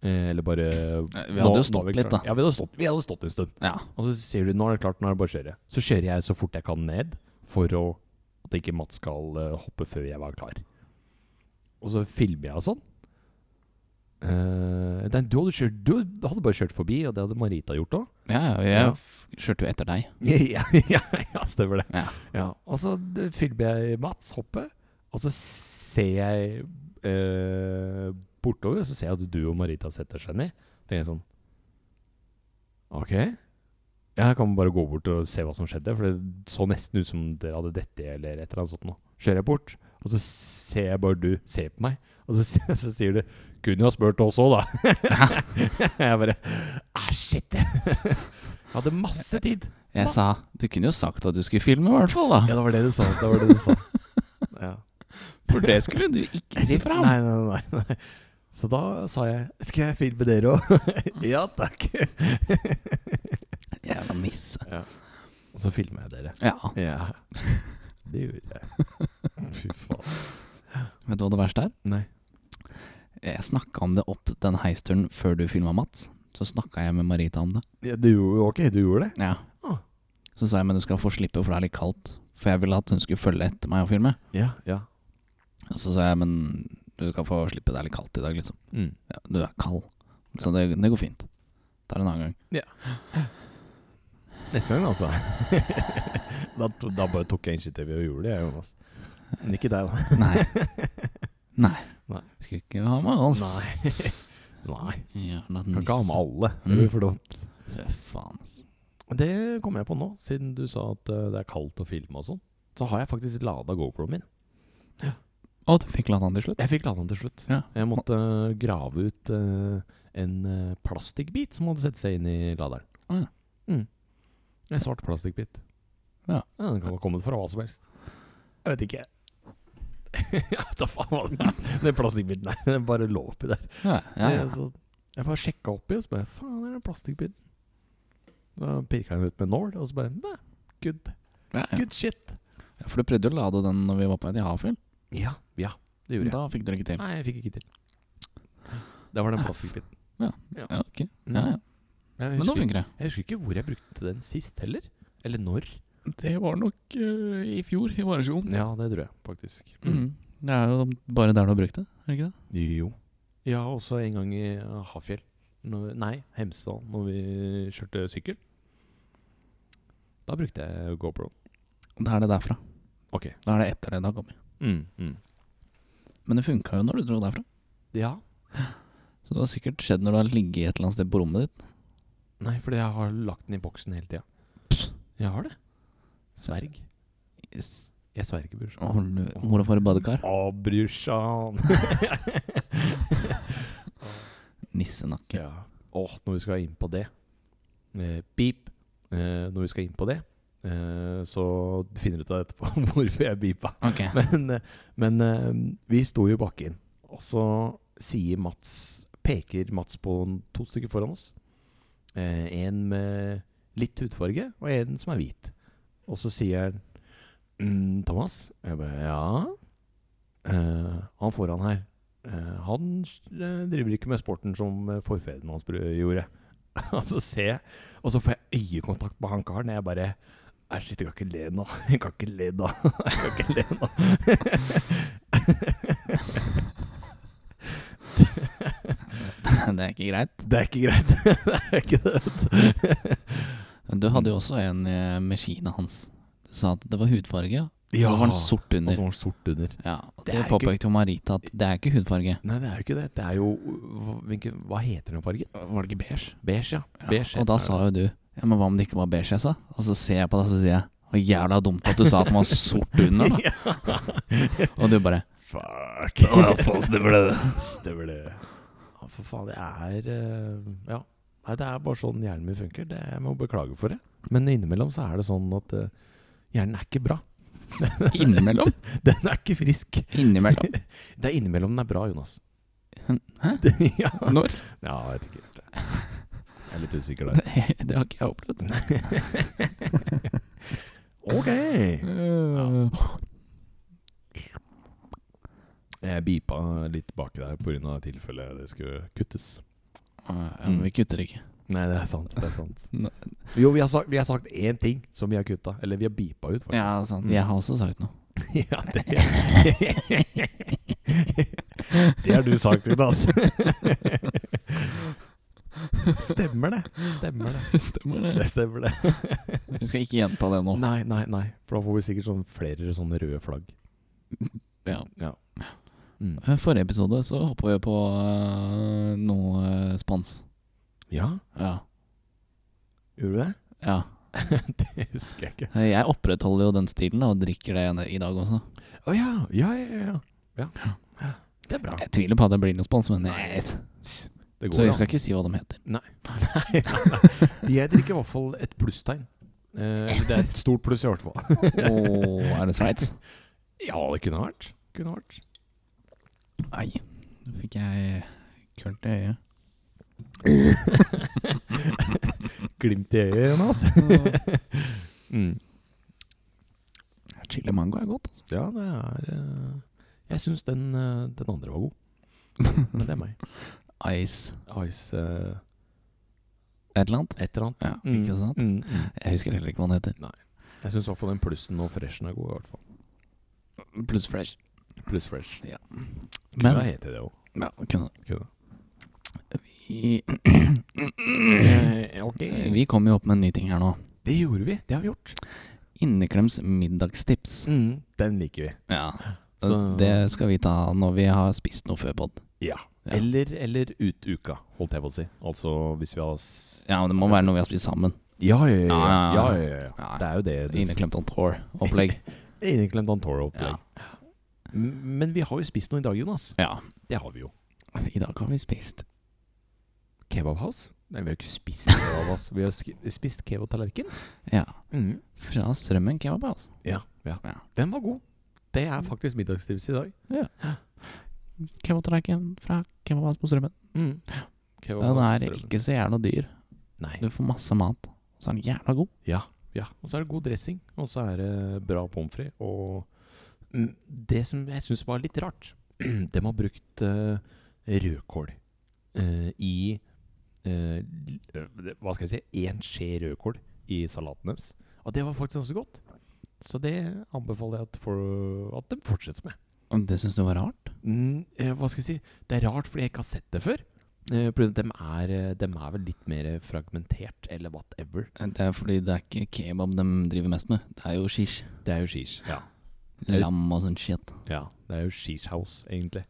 S2: Eh, Eller bare
S1: vi hadde
S2: «Nå-
S1: jo
S2: nå er
S1: stått
S2: klare».
S1: litt, da.
S2: Ja, vi hadde stått, vi hadde stått en stund.
S1: Ja.
S2: Og så sier du nå er det klart, nå er det bare å kjøre. Så kjører jeg så fort jeg kan ned for å, at ikke Mats skal eh, hoppe før jeg var klar. Og så filmer jeg og sånn. Eh, nei, du, hadde kjørt, du hadde bare kjørt forbi, og det hadde Marita gjort òg.
S1: Ja, ja, jeg
S2: Ja.
S1: f- kjørte jo etter deg.
S2: ja, ja, ja, stemmer det.
S1: Ja.
S2: Og så d- filmer jeg Mats hoppe, og så ser jeg eh, bortover, og så ser jeg at du og Marita setter seg ned. Tenker jeg sånn OK. Ja, jeg kan bare gå bort og se hva som skjedde, for det så nesten ut som dere hadde dette eller et eller annet sånt noe. Kjører jeg bort, og så ser jeg bare du ser på meg, og så, s- så sier du 'Kunne jo ha spurt oss òg, da'. jeg bare Æh, shit. jeg hadde masse tid.
S1: Jeg
S2: Hva?
S1: sa Du kunne jo sagt at du skulle filme, i hvert fall, da.
S2: Ja, det var det du sa. Det var det du sa. ja.
S1: For det skulle du ikke si fra om.
S2: Nei, nei, nei, nei. Så da sa jeg Skal jeg filme dere òg? ja takk.
S1: Jævla nisse.
S2: Og så filmer jeg dere.
S1: Ja.
S2: Ja. Det gjorde jeg. Fy faen.
S1: Vet du hva det verste er?
S2: Nei.
S1: Jeg snakka om det opp den heisturen før du filma Mats. Så snakka jeg med Marita om det.
S2: Ja, du, gjorde- ok, du gjorde det?
S1: Ja.
S2: Ah.
S1: Så sa jeg men du skal få slippe, for det er litt kaldt. For jeg ville at hun skulle følge etter meg og filme.
S2: Ja. ja.
S1: Og så sa jeg men du skal få slippe, det er litt kaldt i dag, liksom.
S2: Mm.
S1: Ja, du er kald. Så det, det går fint. Tar en annen gang.
S2: Neste gang, altså. da, to- da bare tok jeg initiativet og gjorde det, jeg, Jonas. Men ikke deg, da.
S1: Nei. Nei.
S2: Nei.
S1: Skulle ikke ha med oss.
S2: Nei. Nei. Mm.
S1: Jævla
S2: Kan ikke ha med
S1: nisse.
S2: alle. Det blir for dumt.
S1: Fy Faen. ass.
S2: Det kom jeg på nå, siden du sa at eh, det er kaldt å filme og sånn. Så har jeg faktisk lada GoProen min.
S1: Å, du fikk landa den til slutt?
S2: Jeg fikk lada den til slutt.
S1: Ja.
S2: Jeg måtte eh, grave ut eh, en eh, plastikkbit som hadde sett seg inn i laderen.
S1: Å ja.
S2: Mm. En svart plastikkbit.
S1: Ja.
S2: Den kan ha kommet fra hva som helst. Jeg vet ikke. Jeg vet da faen hva den er. Den plastikkbiten der. Den bare lå oppi der.
S1: Ja, ja, ja.
S2: Jeg, så, jeg bare sjekka oppi, og så bare Faen, det er en plastikkbit. Da pirka jeg den ut med nål, og så bare Nei, good.
S1: Ja, ja.
S2: Good shit.
S1: ja, for du prøvde å lade den når vi var på et jagerfyll.
S2: Ja, ja,
S1: Men
S2: det gjorde jeg.
S1: Da fikk du det ikke til.
S2: Nei, jeg fikk ikke til. Det var den plastikkbiten.
S1: Ja, ok. Ja, ja.
S2: Jeg,
S1: Men nå
S2: husker,
S1: funker det.
S2: jeg husker ikke hvor jeg brukte den sist heller. Eller når.
S1: Det var nok
S2: eh,
S1: i fjor, i variasjon.
S2: Ja, det tror jeg faktisk.
S1: Mm. Det er jo bare der du har brukt det, er det ikke det?
S2: Jo. Ja, også en gang i eh, Hafjell. Når, nei, Hemsedal, når vi kjørte sykkel. Da brukte jeg GoPro.
S1: Da er det derfra.
S2: Ok.
S1: Da er det etter det det har kommet.
S2: Mm,
S1: Men det funka jo når du dro derfra.
S2: Ja.
S1: Så det har sikkert skjedd når du har ligget et eller annet sted på rommet ditt.
S2: Nei, fordi jeg har lagt den i boksen hele tida. Jeg har det. Sverg.
S1: Yes.
S2: Jeg sverger, brorsan.
S1: Har du Mor og far i badekar?
S2: Å, brorsan!
S1: Nissenakke.
S2: ja. Åh, når vi skal inn på det eh, Beep. Eh, når vi skal inn på det, eh, så finner du ut av etterpå hvorfor jeg beepa.
S1: Ok.
S2: Men, eh, men eh, vi sto jo i bakken, og så sier Mats Peker Mats på en- to stykker foran oss. Eh, en med litt hudfarge, og en som er hvit. Og så sier han mm, Thomas? Jeg bare ja. Eh, han foran her, eh, han eh, driver ikke med sporten som eh, forfedrene hans br- gjorde. og så ser jeg, og så får jeg øyekontakt med han karen. Jeg bare Æsj, shit, jeg kan ikke le nå. Jeg kan ikke le nå. Jeg kan ikke le nå.
S1: det er ikke greit.
S2: Det er ikke greit. Det er ikke det. vet du.
S1: Du hadde
S2: Mm.
S1: jo også en eh, med skiene hans. Du sa at det var hudfarge.
S2: Ja.
S1: Og så var den sort
S2: Og så
S1: under.
S2: var den sort under.
S1: Ja, og
S2: Det
S1: det
S2: er ikke-
S1: påpekte jo Marita at det er ikke hudfarge.
S2: Nei, det er jo ikke det. Det er jo hva- hvilken- Hva heter den fargen?
S1: Var det ikke beige?
S2: Beige, ja.
S1: Ja,
S2: Beige
S1: og da sa jo du Ja, men hva om det ikke var beige jeg sa? Og så ser jeg på deg og så sier jeg Å jævla dumt at du sa at den var sort under da Og du bare
S2: Fuck.
S1: Ja, faen, stemmer det.
S2: Stemmer det. Ja, for faen, det er eh, Ja. Nei, det er bare sånn hjernen min funker. Det, jeg må beklage for det. Men innimellom så er det sånn at eh, hjernen er ikke bra.
S1: Innimellom
S2: Den er ikke frisk.
S1: Innimellom
S2: Det er innimellom den er bra, Jonas.
S1: Hæ?
S2: ja.
S1: Når?
S2: ja, jeg vet ikke helt. Jeg er litt usikker der.
S1: Det har ikke jeg opplevd
S2: Ok! Jeg beepa litt baki der pga. tilfellet det skulle kuttes.
S1: Ja, men vi kutter ikke
S2: Nei, det er sant. det er sant
S1: Nå-
S2: Jo, vi har sagt, vi har sagt én ting som vi har kutta. Eller vi har beepa ut, faktisk.
S1: Ja, sant Jeg har også sagt noe
S2: Ja, det Det har du sagt, Jonas. Stemmer det. Stemmer det.
S1: Stemmer
S2: Det stemmer det.
S1: Vi skal ikke gjenta det nå
S2: Nei, nei, nei. For da får vi sikkert sånn flere sånne røde flagg.
S1: Ja
S2: Ja. Mm.
S1: Eh, Forrige episode så hoppa vi på øh, noe øh, spons
S2: ja,
S1: Ja
S2: gjorde du det?
S1: Ja Eh,
S2: det husker jeg ikke.
S1: Jeg opprettholder jo den stilen da, og drikker det i dag også
S2: Å ja. Ja, ja, ja, ja. Ja. Eh, Det er bra.
S1: Jeg tviler på at det blir noe spons, men jeg vet
S2: Det
S1: Så vi
S2: ja.
S1: skal ikke si hva de heter.
S2: Nei, nei, nei. Jeg drikker i hvert fall et plusstegn. Eh, eller det er et stort pluss i hvert fall.
S1: Åh, er det Sveits?
S2: Ja, det kunne vært. Kunne vært.
S1: Nei. Nå fikk jeg kølt i øyet.
S2: Glimt i øyet, Jonas. mm.
S1: Chili mango er godt. altså.
S2: Ja, det er eh, Jeg syns den, eh, den andre var god. Men det er meg.
S1: Ice
S2: Ice eh,
S1: et eller annet.
S2: et eller annet.
S1: Ja, ikke sant?
S2: Mm, mm.
S1: Jeg husker heller ikke hva den heter.
S2: Jeg syns i hvert fall den plussen og freshen er god. i hvert fall
S1: Pluss fresh.
S2: Pluss fresh. Kunne
S1: Men
S2: ha hett det òg.
S1: ja, kunne.
S2: Kunne.
S1: Vi,
S2: Eh, ok.
S1: vi kom jo opp med en ny ting her nå.
S2: Det gjorde vi. Det har vi gjort.
S1: Inneklems middagstips.
S2: Mm. Den liker vi.
S1: Ja.
S2: Så-
S1: Det skal vi ta når vi har spist noe før pod.
S2: Ja.
S1: Ja.
S2: Eller, eller ut uka, holdt jeg på å si. Altså hvis vi har s-
S1: Ja, men det må være noe vi har spist sammen.
S2: Ja, ja, ja.
S1: Ja, ja, ja. Ja.
S2: Det er jo det. det
S1: Inneklemt on tour-opplegg.
S2: Inneklemt Antoro-opplegg.
S1: Ja.
S2: M- Men vi har jo spist noe i dag, Jonas.
S1: ja.
S2: Det har vi jo.
S1: I dag har vi spist
S2: Kebabhouse? Nei, vi har ikke spist kebabhouse. Vi har sk- spist kebabtallerken.
S1: Ja.
S2: Mm.
S1: Fra Strømmen Kebabhouse.
S2: Ja, ja.
S1: Ja.
S2: Den var god. Det er faktisk middagstips i dag.
S1: Kebabtallerken fra Kebabhouse på Strømmen.
S2: Mm.
S1: Den
S2: Kebabhouse,
S1: er
S2: strømmen.
S1: ikke så jævla dyr.
S2: Nei.
S1: Du får masse mat. Og så er den jævla god.
S2: Ja, ja. Og så er det god dressing, og så er det bra pommes frites. Og mm, det som jeg syns var litt rart, de har brukt eh, rødkål eh, i eh, l- eh, Hva skal jeg si én skje rødkål i salaten deres. Og det var faktisk ganske godt. Så det anbefaler jeg at, for, at de fortsetter med.
S1: Om det syns du var rart?
S2: Mm, eh, hva skal jeg si? Det er rart, fordi jeg ikke har sett det før. Eh, fordi de er, eh, dem er vel litt mer fragmentert, eller whatever.
S1: Eh, Det er fordi det er ikke kebab de driver mest med. Det er jo shish.
S2: Det er jo shish. Ja.
S1: Lam og sånn shit.
S2: Ja, det er jo Sheesh House, egentlig.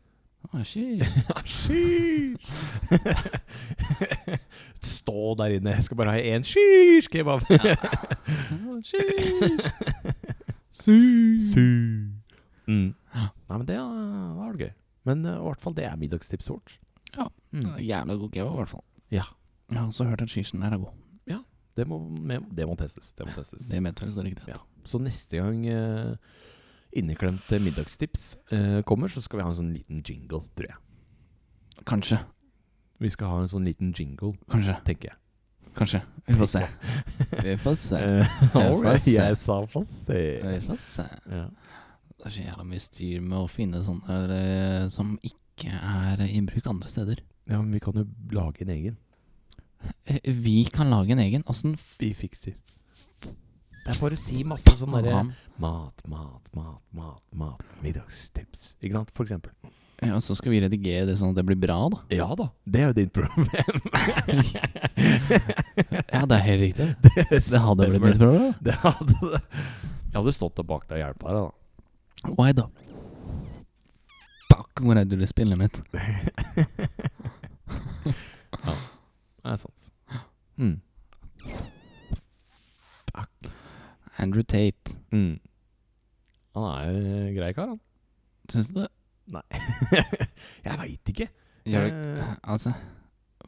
S1: Ah, shish.
S2: Sheesh! Stå der inne, jeg skal bare ha én sheesh kebab.
S1: Ah, shish. Su.
S2: Mm.
S1: Ja.
S2: Nei, men det, eh, var det gøy. Men eh, i hvert fall, det er middagstipset vårt.
S1: Ja.
S2: Mm.
S1: Jævla god geva, i hvert fall.
S2: Ja.
S1: Jeg har også hørt at skisen der er god.
S2: Det, må, med- det må testes. Det må testes.
S1: Det vet vel så riktig.
S2: Ja. Så neste gang eh, inneklemte middagstips eh, kommer, så skal vi ha en sånn liten jingle, tror jeg.
S1: Kanskje.
S2: Vi skal ha en sånn liten jingle,
S1: Kanskje.
S2: tenker jeg.
S1: Kanskje. Vi får se. Vi får se.
S2: Eh, all
S1: Få
S2: right,
S1: se.
S2: jeg sa få se.
S1: Vi får se.
S2: Ja.
S1: Det er så jævla mye styr med å finne sånne eh, som ikke er i bruk andre steder.
S2: ja, men vi kan jo lage en egen.
S1: Eh, Vi kan lage en egen. Åssen
S2: Vi fikser. Det er bare å si masse sånn derre
S1: faen?
S2: Mat, mat, mat, mat, mat. Middagstips. Ikke sant? For eksempel.
S1: Ja, og så skal vi redigere det sånn at det blir bra, da.
S2: Ja da. Det er jo ditt problem.
S1: Ja, det er helt riktig. Det hadde blitt
S2: stemmer.
S1: mitt problem.
S2: Det hadde det. Jeg hadde stått og bak deg og hjulpet deg, da.
S1: da. Why da? Fuck, hvor er du spillet mitt?
S2: Det er sant. Mm.
S1: Andrew Tate.
S2: Mm. Han er en grei kar, han.
S1: Syns du det?
S2: jeg veit ikke.
S1: Gjør det
S2: Eh,
S1: Altså,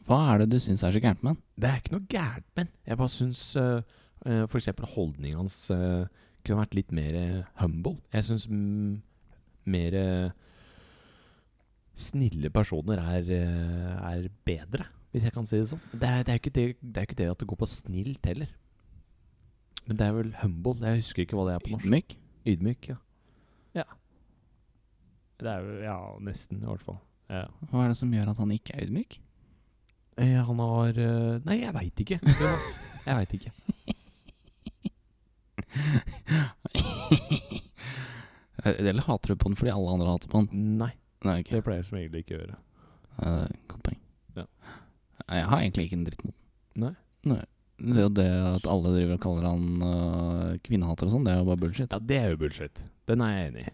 S1: hva er det du syns er så gærent med han?
S2: det er ikke noe gærent med han. Jeg bare syns uh, for eksempel holdningen hans eh, kunne vært litt mer eh, humble. Jeg syns mm, mer eh, snille personer er, eh, er bedre, hvis jeg kan si det sånn. Det er, det, er ikke det, det er ikke det at det går på snilt heller. Men det er vel humble. Jeg husker ikke hva det er på norsk.
S1: Ydmyk?
S2: Ydmyk, ja. Ja. Det er vel Ja, nesten, i hvert fall. Ja.
S1: Hva er det som gjør at han ikke er ydmyk?
S2: Eh, Han har eh, Nei, jeg veit ikke. Jonas. Jeg veit ikke.
S1: Eh, Eller hater du på han fordi alle andre hater på han?
S2: Nei,
S1: Nei, ok.
S2: det pleier jeg som egentlig ikke å gjøre.
S1: Eh, Godt poeng.
S2: Ja.
S1: Nei, Jeg har egentlig ikke en dritt mot
S2: Nei.
S1: Nei. Det er jo det at alle driver og kaller han øh, kvinnehater og sånn, det er jo bare bullshit.
S2: Ja, det er jo bullshit. Den er jeg enig i.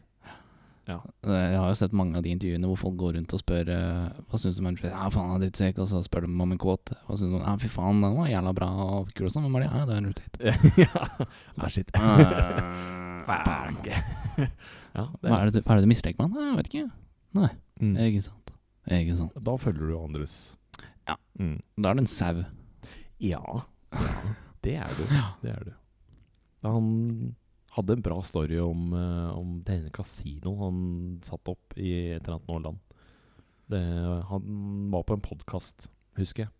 S1: Eh, Jeg har jo sett mange av de intervjuene hvor folk går rundt og spør eh, hva syns du om Andrew Tate? Ja, faen, han er drittsekk. Og så spør de om en quote. Hva syns du om Ja, fy faen, den var jævla bra og kul og sånn. Hvem er det? Ja, det er Andrew Tate.
S2: ja. Ah, shit.
S1: Eh, faen.
S2: Fuck. ja, det
S1: Hva er det du, hva er det du misliker med han? Nei, Jeg vet ikke.
S2: Mm.
S1: Ikke sant. Ikke sant.
S2: Da følger du andres.
S1: Ja.
S2: Mm.
S1: Da er det en sau.
S2: Ja. Det er du. Det er du. Han hadde en bra story om, eh, om det ene kasinoet han satte opp i et eller annet Nordland. Det, han var på en podkast, husker jeg.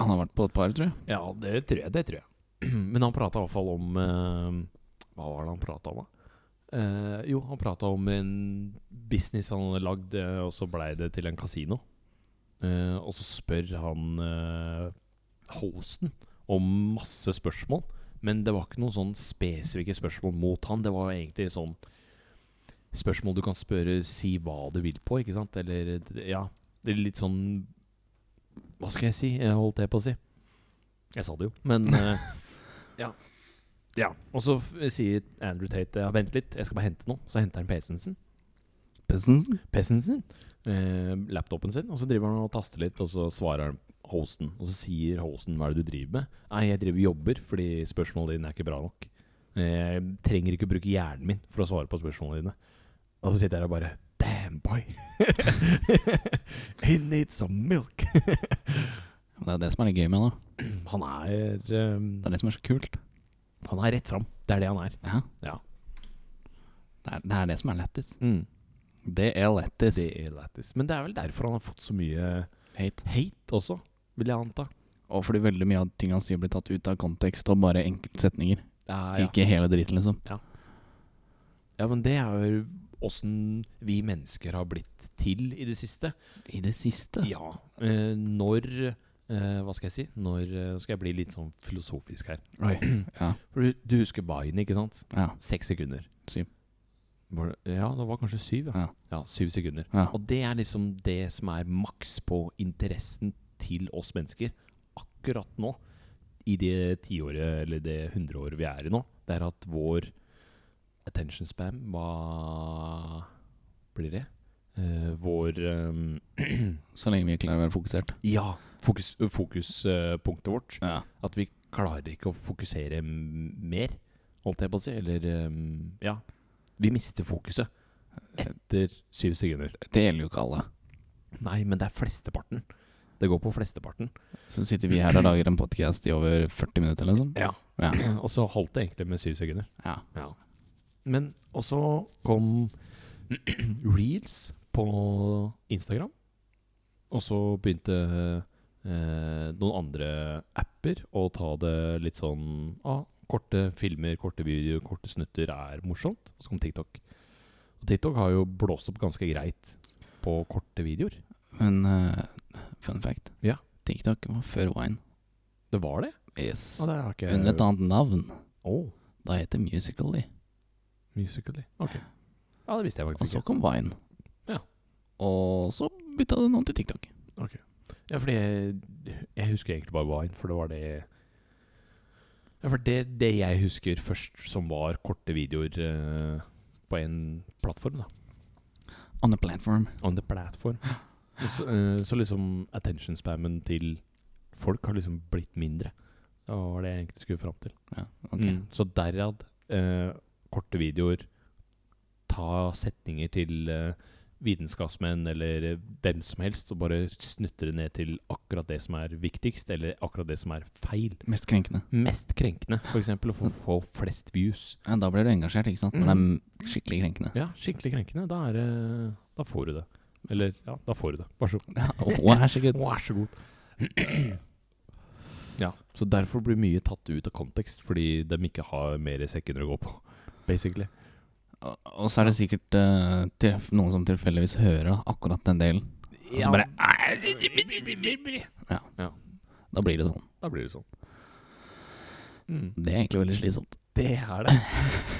S1: Han har vært på et par, tror jeg.
S2: Ja, det tror jeg. Det tror jeg. Men han prata i hvert fall om eh, Hva var det han prata om, da? Eh, jo, han prata om en business han hadde lagd, eh, og så blei det til en kasino. Eh, og så spør han eh, hosten om masse spørsmål, men det var ikke noen sånn spesifikke spørsmål mot han. Det var egentlig sånn spørsmål du kan spørre si hva du vil på, ikke sant? Eller ja, det er litt sånn Hva skal jeg si? Jeg holdt det på å si. Jeg sa det jo, men eh, ja. ja. Og så f- sier Andrew Tate ja, vent litt, jeg skal bare hente noe. Så henter han PC-en sin.
S1: Bessensen?
S2: PC-en sin eh, laptopen sin, og så driver han og taster litt, og så svarer han hosten. Og så sier hosten hva er det du driver med? Nei, jeg driver og jobber fordi spørsmålene dine er ikke bra nok. Eh, Jeg trenger ikke å bruke hjernen min for å svare på spørsmålene dine. Og så sitter jeg der og bare Damn, boy. He needs some milk.
S1: Det er det som er litt gøy med han, da.
S2: Han er eh,
S1: Det er det som er så kult.
S2: Han er rett fram. Det er det han er.
S1: Ja.
S2: Ja.
S1: Det er, det er det som er lættis.
S2: Mm.
S1: Det er lættis.
S2: Det er lættis. Men det er vel derfor han har fått så mye
S1: Hate.
S2: hate også, vil jeg anta.
S1: Og fordi veldig mye av ting han sier, blir tatt ut av kontekst og bare enkeltsetninger.
S2: ja.
S1: Ikke hele driten, liksom.
S2: ja, men det er jo åssen vi mennesker har blitt til i det siste.
S1: I det siste.
S2: Ja. Eh, når eh, Hva skal jeg si? Når eh, skal jeg bli litt sånn filosofisk her?
S1: Oi. Ja.
S2: For du, du husker Biden, ikke sant?
S1: Ja.
S2: Seks sekunder.
S1: Syv.
S2: Var det, ja, det var kanskje syv.
S1: Ja.
S2: ja syv sekunder.
S1: ja.
S2: Og det er liksom det som er maks på interessen til oss mennesker akkurat nå. I det tiåret, eller det hundreåret vi er i nå. Det er at vår attention spam Hva blir det? Eh, vår eh,
S1: Så lenge vi klarer å være fokusert.
S2: Ja, fokus- fokuspunktet vårt.
S1: Ja.
S2: At vi klarer ikke å fokusere m- mer. holdt jeg på å si. Eller ehm, Ja. Vi mister fokuset etter syv sekunder.
S1: Det gjelder jo ikke alle.
S2: Nei, men det er flesteparten. Det går på flesteparten.
S1: Så sitter vi her og lager en podkast i over 40 minutter, liksom.
S2: Ja.
S1: Ja.
S2: Og så holdt det egentlig med syv sekunder.
S1: ja.
S2: Men og så kom reels på Instagram. Og så begynte eh, noen andre apper å ta det litt sånn ah, Korte filmer, korte videoer, korte snutter er morsomt. Og så kom TikTok. Og TikTok har jo blåst opp ganske greit på korte videoer.
S1: Men eh, fun fact
S2: Ja.
S1: TikTok var før Wine.
S2: Det var det?
S1: Yes.
S2: det har ikke
S1: Under et annet navn.
S2: Oh,
S1: Da heter Musical.ly.
S2: musically. Ok. Ja, det visste jeg
S1: Og
S2: faktisk
S1: så
S2: ikke.
S1: kom Vine.
S2: Ja.
S1: Og så bytta det navn til TikTok.
S2: Ja, fordi jeg, jeg husker egentlig bare Vine, for det var det Ja, for det, det jeg husker først som var korte videoer eh, på en plattform, da.
S1: On a platform.
S2: On the platform. Og Så, eh, så liksom attention spammen til folk har liksom blitt mindre. Det var det jeg egentlig skulle fram til.
S1: Ja, ok.
S2: Mm, så derad eh, korte videoer, ta setninger til eh, vitenskapsmenn eller eh, hvem som helst, og bare snutte det ned til akkurat det som er viktigst, eller akkurat det som er feil.
S1: Mest krenkende.
S2: Mest krenkende, f.eks., og få, få flest views.
S1: Ja, da blir du engasjert, ikke sant? Når det er skikkelig krenkende.
S2: Mm. Ja, skikkelig krenkende. Da, er, det- da får du det. Eller ja, da får du det. Vær så god.
S1: Ja, vær så god.
S2: Vær så god. ja, så derfor blir mye tatt ut av kontekst, fordi de ikke har mer sekker å gå på, basically.
S1: Og- Og så er det sikkert eh, tilf- noen som tilfeldigvis hører da, akkurat den delen. Og så bare Da blir det sånn. Mm.
S2: Da blir det sånn.
S1: Det er egentlig veldig slitsomt.
S2: Det er det.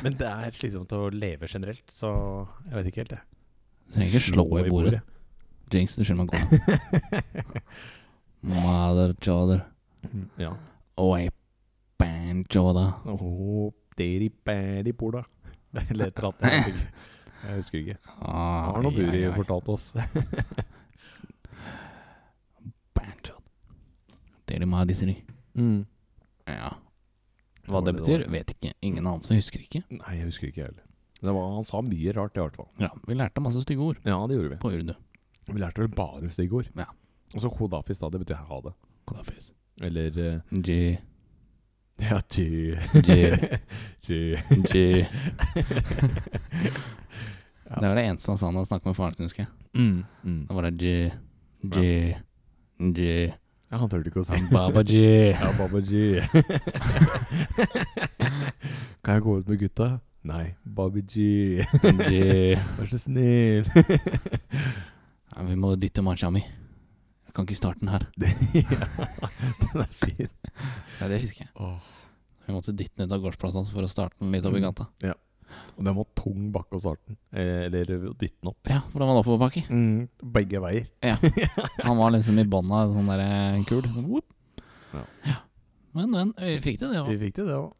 S2: Men det er slitsomt å leve generelt, så jeg vet ikke helt, jeg.
S1: Så jeg kan ikke slå i bordet. Jinx, du skylder meg godt. Mother joder.
S2: Ja.
S1: Oi, band joder.
S2: Oh, deri bæri borda. Eller et eller annet. Jeg, vet ikke. jeg husker ikke.
S1: Ah,
S2: Har noe
S1: ai,
S2: Buri
S1: ai, ai.
S2: fortalt oss.
S1: Band joder. Dere må ha disse ni. Mm. Ja. Hva det betyr, vet ikke. Ingen anelse, husker ikke.
S2: Nei, jeg husker ikke jeg heller. Men Det var, han sa mye rart, i hvert fall.
S1: Ja, vi lærte masse stygge ord
S2: Ja, det gjorde vi.
S1: på urdu.
S2: Vi lærte vel bare stygge ord.
S1: Ja.
S2: Og så kodafis, da. Det betyr ha det.
S1: Kodafis.
S2: Eller eh,
S1: G,
S2: Ja, ty.
S1: G,
S2: Ty.
S1: G. Det var det eneste han sa når han snakket med faren sin, husker jeg.
S2: Mm. Mm.
S1: Da var det G, G, G.
S2: Ja, han turte ikke å si
S1: Baba G.
S2: Ja, Baba G. kan jeg gå ut med gutta? Nei. Bobby G,
S1: G.
S2: vær så snill.
S1: Ja, vi må dytte macha mi. Jeg kan ikke starte den her.
S2: ja, den er fin.
S1: Ja, det husker jeg. Vi måtte dytte den ut av gårdsplassen for å starte den litt opp i gata.
S2: Og den var tung bakke å starte den. Eh, eller å dytte den opp.
S1: Ja, for den var oppoverbakke.
S2: Mm. Begge veier.
S1: Han var liksom i bånn av en sånn derre kul. Sånn, whoop.
S2: Ja.
S1: Ja. Men, men. Vi fikk det, det òg.
S2: Vi fikk til det òg.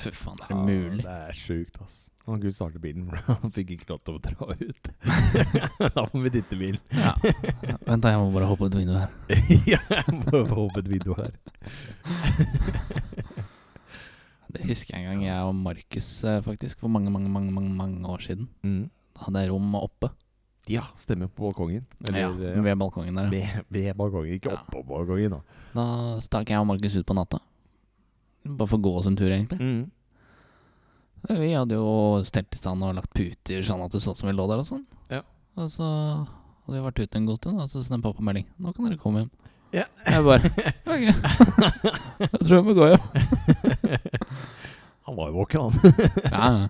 S1: Fy faen, er det mulig?
S2: Det er sjukt, ass. Han kunne starte bilen, men han fikk ikke lov til å dra ut. da må vi dytte bilen.
S1: Ja. Vent, da. Jeg må bare hoppe ut vinduet her.
S2: ja, jeg må få opp et video her.
S1: Det husker jeg en gang jeg og Markus, eh, faktisk, for mange, mange, mange, mange, mange år siden. Da hadde jeg rom oppe.
S2: Mm. Ja, stemmer på balkongen. eh,
S1: ja, ved balkongen der. ja.
S2: Ved, ved balkongen, ikke
S1: Ja.
S2: oppå balkongen. da
S1: Da stakk jeg og Markus ut på natta. Bare for å gå oss en tur, egentlig. Eh, Vi hadde jo stelt i stand og lagt puter sånn at det så ut som vi lå der og sånn.
S2: Ja.
S1: Og så hadde vi vært ute en god stund, og så sendte pappa melding. 'Nå kan dere komme hjem'.
S2: Ja.
S1: Jeg bare Ok. jeg tror jeg må gå hjem.
S2: Han var jo våken, han.
S1: Ja, ja.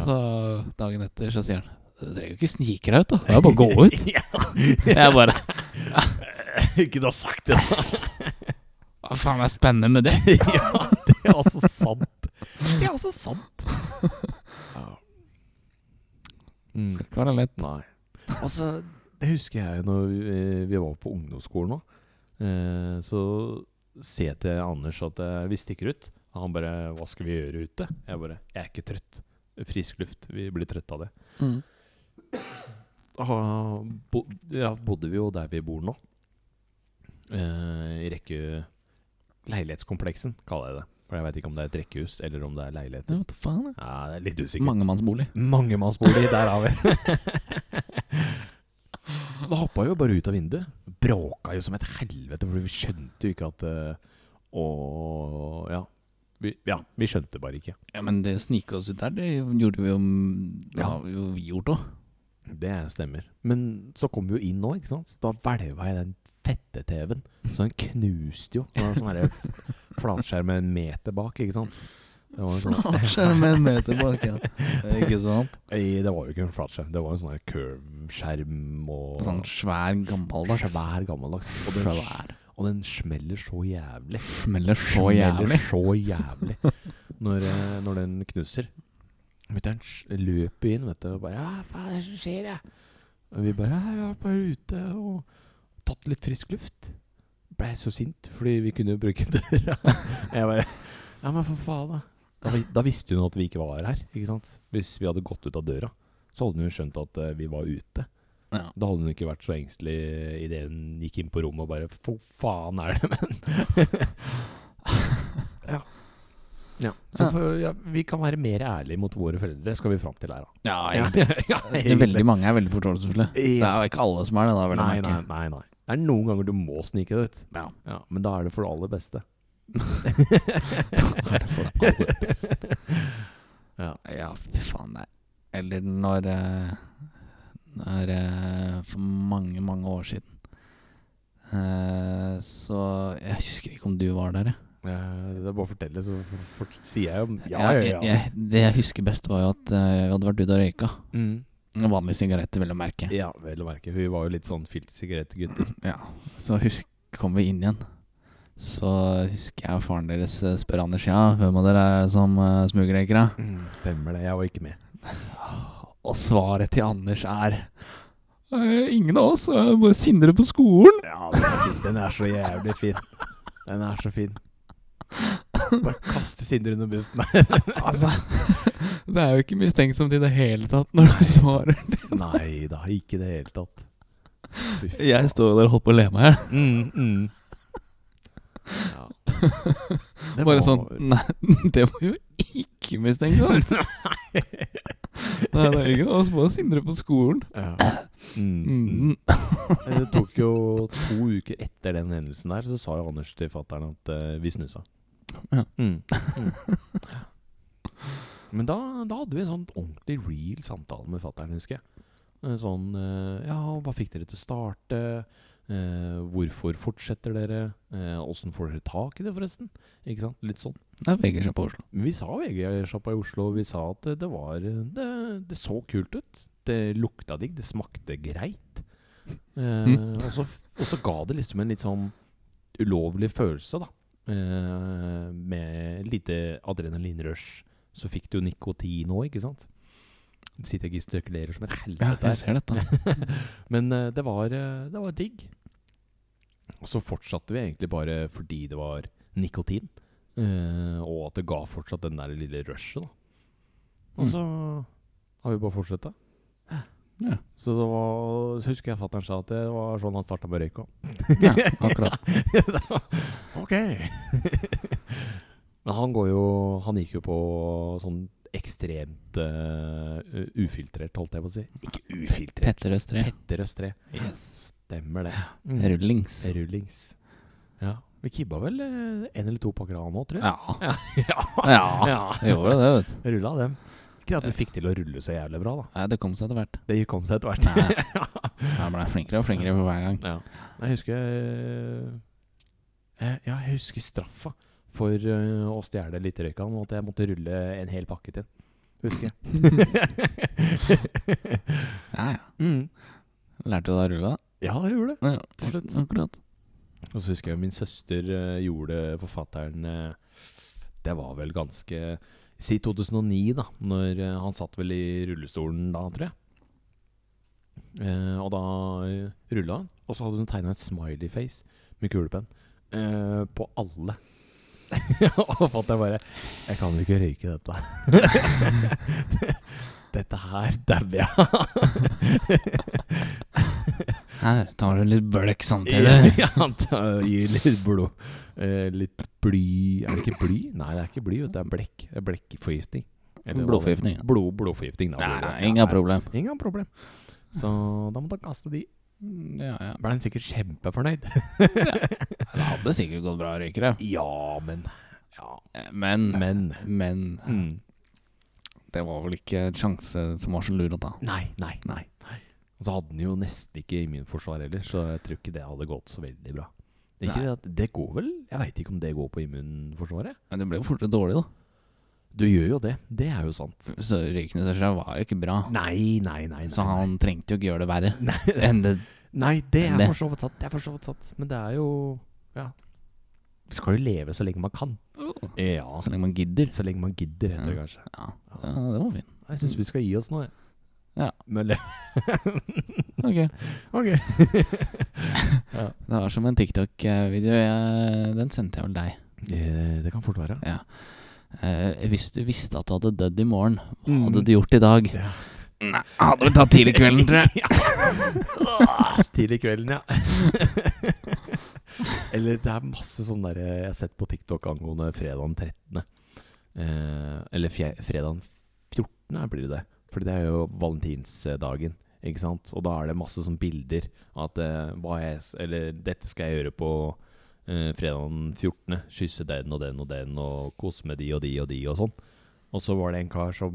S2: Ja.
S1: Så dagen etter så sier han Du trenger jo ikke snike deg ut, da. Det er bare å gå ut.
S2: Ja.
S1: Jeg bare
S2: Ikke du har sagt det, da.
S1: Hva faen er spennende med det?
S2: ja, det er altså sant. Det er altså sant.
S1: Det
S2: Mm.
S1: skal ikke være lett.
S2: Nei. Altså, det husker jeg når vi, vi var på ungdomsskolen òg. Eh, så sier jeg til Anders at eh, vi stikker ut. Og han bare 'Hva skal vi gjøre ute?' Jeg bare 'Jeg er ikke trøtt. Frisk luft. Vi blir trøtte av det'. Ah, bo, ja, bodde vi jo der vi bor nå. Eh, I rekke leilighetskompleksen, kaller jeg det. For jeg veit ikke om det er et rekkehus eller om det er leiligheter.
S1: Ja, hva faen? ja.
S2: Ja, det er litt usikkert.
S1: Mangemannsbolig.
S2: Mangemannsbolig, der har vi Så da hoppa jeg jo bare ut av vinduet. Bråka jo som et helvete, for vi skjønte jo ikke at eh, Å ja. Vi, ja. Vi skjønte bare ikke.
S1: Ja, men det snike oss ut der, det gjorde vi jo Det har vi jo vi gjort òg.
S2: Det stemmer. Men så kom vi jo inn nå, ikke sant. Så da hvelva jeg den fette TV-en. Så den knuste jo. Det var sånn herre f- flatskjerm med en meter bak, ikke sant. Det var, jo sånn,
S1: Flatskjerm en meter bak, ja. Ikke sant?
S2: Nei, det var jo ikke en flatskjerm, det var jo sånn her curve-skjerm og
S1: Sånn svær, gammeldags.
S2: Svær, gammeldags. Og den,
S1: Svær.
S2: og den smeller så jævlig.
S1: Smeller så
S2: Smeller
S1: jævlig.
S2: Så jævlig. Når, eh, når den knuser. Mutter'n s- løper inn, vet du, og bare 'Hva faen er det som skjer, jeg?' Og vi bare 'Jeg har vært bare ute og tatt litt frisk luft'. Blei så sint, fordi vi kunne jo bruke døra. Jeg bare 'Ja, men for faen, da'. Da, vi- da visste hun at vi ikke var her, ikke sant. Hvis vi hadde gått ut av døra, så hadde hun jo skjønt at eh, vi var ute.
S1: Ja.
S2: Da hadde hun ikke vært så engstelig idet hun gikk inn på rommet og bare For faen er det, men ja. ja. Så
S1: Ja.
S2: for, ja, vi kan være mer ærlige mot våre foreldre, skal vi fram til her, da.
S1: Ja,
S2: Ja,
S1: egentlig.
S2: ja,
S1: Det er veldig mange er veldig forståelsesfulle. Det er jo ikke alle som er det. da, vil
S2: Nei,
S1: jeg
S2: nei,
S1: merke.
S2: nei, nei. Det er noen ganger du må snike det ut.
S1: Ja.
S2: men da er det for det aller beste.
S1: Da er det for det aller beste.
S2: Ja.
S1: Ja, fy faen. Nei. Eller når eh, Når eh, For mange, mange år siden eh, Så Jeg husker ikke om du var der, jeg.
S2: Eh, Det er bare å fortelle, så for, for, sier jeg jo
S1: Jeg- jeg- Det jeg husker best, var jo at eh, vi hadde vært ute og røyka.
S2: Mm.
S1: Vanlige sigaretter, vel å merke.
S2: ja vel å merke. Vi var jo litt sånn filtsigarettgutter.
S1: Ja, så husk, kom vi inn igjen. Så husker jeg faren deres eh, spør Anders ja, hvem av dere er det som uh, smugrøyker. da?»
S2: Mm, Stemmer det, jeg var ikke med.
S1: Og svaret til Anders er «Eh, Ingen av oss. eh, Bare Sindre på skolen.
S2: Ja, den er, fin. den er så jævlig fin. Den er så fin. Bare kaste Sindre under bussen.
S1: Altså, det er jo ikke mistenksomt i det hele tatt når du svarer.
S2: Nei da, ikke i det hele tatt. Fy faen.
S1: Jeg står jo der og holder på å le meg i hjel.
S2: Mm, mm. Ja. Det
S1: Bare
S2: var-
S1: sånn Nei, det var jo ikke mistenksomt. Nei, det er ingen av oss. Bare Sindre på skolen.
S2: Ja. Mm.
S1: Mm.
S2: Det tok jo to uker etter den hendelsen der, så sa jo Anders til fatter'n at eh, vi snusa.
S1: Ja.
S2: Mm. Mm. Men da, da hadde vi en sånn ordentlig real samtale med fatter'n, husker jeg. En Sånn eh, Ja, hva fikk dere til å starte? Eh, hvorfor fortsetter dere? Eh, Åssen får dere tak i det, forresten? Ikke sant? Litt sånn.
S1: Det er VG på Oslo.
S2: Vi sa VG-sjappa i Oslo, og vi sa at det var Det, det så kult ut. Det lukta digg, det smakte greit. Eh,
S1: Mm.
S2: og, så, og så ga det liksom en litt sånn ulovlig følelse, da. Eh, med lite adrenalinrush. Så fikk du jo nikotin òg, ikke sant? Sitter jeg og gestikulerer som
S1: Ja,
S2: et helvete
S1: jeg
S2: her.
S1: ser dette.
S2: Men eh, det var, eh, det var digg. Og så fortsatte vi egentlig bare fordi det var nikotin. eh, og at det ga fortsatt den der lille rushet, da. Og
S1: Mm.
S2: så har vi bare fortsatt det.
S1: Ja.
S2: Så det var, så husker jeg fatter'n sa at det var sånn han starta med røyk òg.
S1: Ja, akkurat.
S2: ok. Men han går jo Han gikk jo på sånn ekstremt eh, ufiltrert, holdt jeg på å si. Ikke ufiltrert.
S1: Petter Østre.
S2: Petter Østre.
S1: Yes.
S2: Stemmer det.
S1: Mm. Rullings.
S2: Rullings. Ja. Vi kibba vel eh, en eller to pakker av nå, tror jeg.
S1: Ja.
S2: Ja.
S1: Ja. Det gjorde det, vet du.
S2: Rulla dem. Ikke at vi fikk til å rulle så jævlig bra, da.
S1: Nei, det kom seg etter hvert.
S2: Det kom seg etter hvert.
S1: Nei, jeg ble flinkere og flinkere for hver gang.
S2: Ja. Jeg husker eh, Ja, jeg husker straffa for eh, å stjele litt røyk av han, og at jeg måtte rulle en hel pakke til. Husker jeg.
S1: Ja, ja.
S2: mm.
S1: Lærte du deg å rulle?
S2: Ja, jeg gjorde det.
S1: Ja,
S2: til slutt.
S1: Akkurat.
S2: Og så husker jeg min søster eh, gjorde forfatteren eh, Det var vel ganske Si 2009, da. Når eh, han satt vel i rullestolen da, tror jeg. Eh, og da uh, rulla han, og så hadde hun tegna et smiley-face med kulepenn eh, på alle. og fatter'n bare 'Jeg kan jo ikke røyke dette'. dette her dauer jeg av.
S1: Her tar du litt bløkk samtidig.
S2: Ja, han tar- gir litt blod. Eh, litt bly Er det ikke bly? Nei, det er ikke bly. vet du. Det er blekk. Det er Blekkforgiftning. Eller hva det-
S1: Blodforgiftning, ja.
S2: Blod, blodforgiftning, da. blir det.
S1: Nei,
S2: Ja,
S1: ingen problem.
S2: Ingen problem. Så da må du kaste de.
S1: Ja, ja.
S2: Ble han sikkert kjempefornøyd.
S1: Det hadde sikkert gått bra å røyke det.
S2: Ja, men Ja,
S1: Men,
S2: men
S1: men
S2: mm.
S1: det var vel ikke en sjanse som var så lur å ta.
S2: Nei, nei, nei. Og så hadde han jo nesten ikke immunforsvar heller, så jeg tror ikke det hadde gått så veldig bra. Det, er ikke det, at, det går vel Jeg veit ikke om det går på immunforsvaret.
S1: Men det ble jo fortere dårlig, da.
S2: Du gjør jo det. Det er jo sant.
S1: Så røyken i seg selv var jo ikke bra.
S2: Nei, nei, nei. nei
S1: Så han trengte jo ikke gjøre det verre
S2: Nei,
S1: enn det
S2: nei det er
S1: Det-
S2: for så vidt sant. Det er for så vidt sant. Men det er jo Ja. Vi skal jo leve så lenge man kan. Ja.
S1: Så lenge man gidder.
S2: Så lenge man gidder, heter det kanskje.
S1: Oh. Ja, ja det var fint.
S2: Jeg syns vi skal gi oss nå, jeg.
S1: Ja.
S2: Men det
S1: Ok.
S2: Ok.
S1: Det var som en TikTok-video. Jeg- Den sendte jeg vel deg.
S2: Eh, Det kan fort være.
S1: Ja. Eh, hvis du visste at du hadde dødd i morgen, hva
S2: Mm.
S1: hadde du gjort i dag?
S2: Ja.
S1: Nei, hadde du tatt tidlig kvelden, tror jeg.
S2: Ja. Tidlig kvelden, ja. Eller det er masse sånn derre jeg har sett på TikTok angående fredagen 13. Eh, eller fje, fredagen 14. her blir det det. Fordi det er jo valentinsdagen. Ikke sant? Og da er det masse sånn bilder av at eh, hva jeg, s- Eller dette skal jeg gjøre på eh, fredagen 14. Kysse den og den og den og kose med de og de og de og sånn. Og så var det en kar som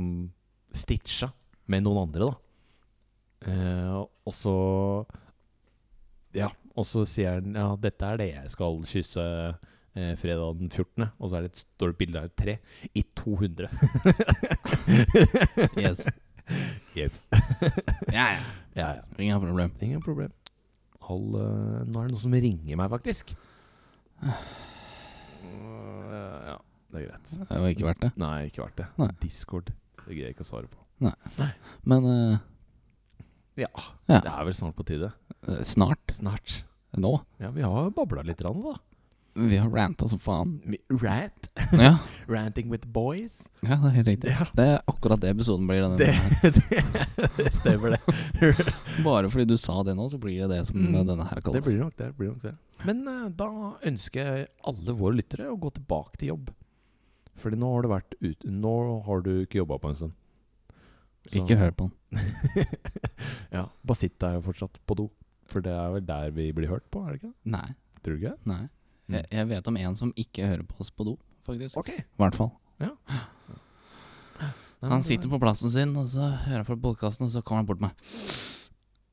S2: stitcha med noen andre, da. Eh, og så Ja, og så sier han Ja, dette er det jeg skal kysse eh, fredag den 14. Og så er det et stort bilde av et tre i 200.
S1: Yes.
S2: yes.
S1: Ja, ja.
S2: Ja, ja.
S1: Ingen problem.
S2: Ingen problem. All, eh, nå er det noen som ringer meg, faktisk. Eh, ja, det er greit.
S1: Det var ikke verdt det.
S2: Nei, ikke verdt det.
S1: Nei.
S2: Discord. Det greier jeg ikke å svare på.
S1: Men eh,
S2: Ja.
S1: Ja.
S2: Det er vel snart på tide.
S1: eh, snart.
S2: Snart.
S1: Nå.
S2: Ja, vi har babla litt, rann, da.
S1: Vi har ranta som faen.
S2: Rant.
S1: Ja,
S2: Ranting with boys.
S1: ja det er helt riktig.
S2: Ja.
S1: Det er akkurat det episoden blir. Denne.
S2: Det,
S1: her.
S2: det, det stemmer, det.
S1: Bare fordi du sa det nå, så blir det det som
S2: Mm.
S1: eh, denne her kalles.
S2: nok det. blir nok det. Men eh, da ønsker jeg alle våre lyttere å gå tilbake til jobb. Fordi nå har du vært ut, Nå har du ikke jobba på en stund. Så-
S1: Ikke hør på den.
S2: ja, bare sitt der fortsatt på do. For det er vel der vi blir hørt på, er det ikke? det?
S1: Nei.
S2: Tror du ikke det?
S1: nei.
S2: Mm.
S1: Jeg, jeg vet om en som ikke hører på oss på do, faktisk.
S2: Ok.
S1: I hvert fall.
S2: Nei, men- eh,
S1: Han sitter på plassen sin, og så hører han på podkasten, og så kommer han bort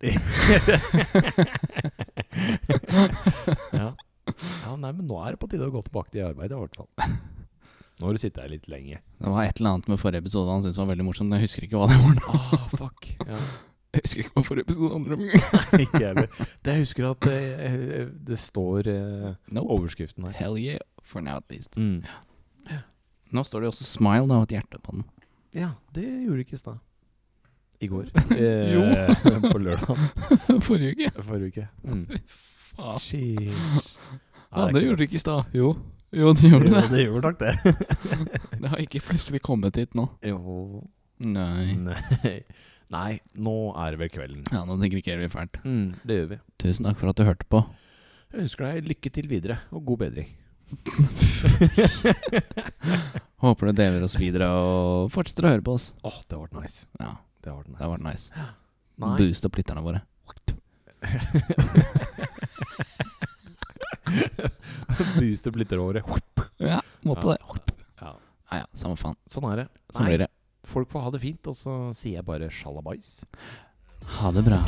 S1: til meg.
S2: ja. ja, nei, men nå er det på tide å gå tilbake til arbeid, i hvert fall. Nå har du sittet her litt lenge.
S1: Det var et eller annet med forrige episode han syntes var veldig morsomt. men Jeg husker ikke hva det var nå.
S2: Ah, fuck. Ja.
S1: Jeg husker ikke hva forrige episode handler om.
S2: Ikke jeg heller. Det jeg husker at det, det står eh,
S1: Nope.
S2: overskriften her.
S1: Hell yeah, for now at least.
S2: Mm.
S1: Nå står det jo også smile da, og et hjerte på den.
S2: Ja, det gjorde du ikke i stad. I går.
S1: Jo.
S2: Eh, på lørdag
S1: Forrige uke?
S2: forrige uke. Mm.
S1: Faen.
S2: Sheesh.
S1: Ja, det gjorde du ikke i stad. Jo. Jo, det gjorde
S2: det.
S1: det.
S2: det gjorde nok det.
S1: Det har ikke plutselig kommet hit nå.
S2: Jo.
S1: Nei.
S2: Nei. Nei, nå er det vel kvelden.
S1: Ja, nå tenker ikke jeg det blir fælt.
S2: Mm, det gjør vi.
S1: Tusen takk for at du hørte på.
S2: Jeg ønsker deg lykke til videre, og god bedring.
S1: Håper du deler oss videre og fortsetter å høre på oss.
S2: Åh, det har vært nice.
S1: Ja,
S2: Det har vært nice.
S1: det har vært nice.
S2: Nei.
S1: Boost opp lytterne våre.
S2: Boost opp lytteråret.
S1: Ja, måtte det.
S2: Ja.
S1: Ja ja, samme faen.
S2: Sånn er det.
S1: Sånn blir det.
S2: Folk får ha det fint, og så sier jeg bare sjalabais.
S1: Ha det bra.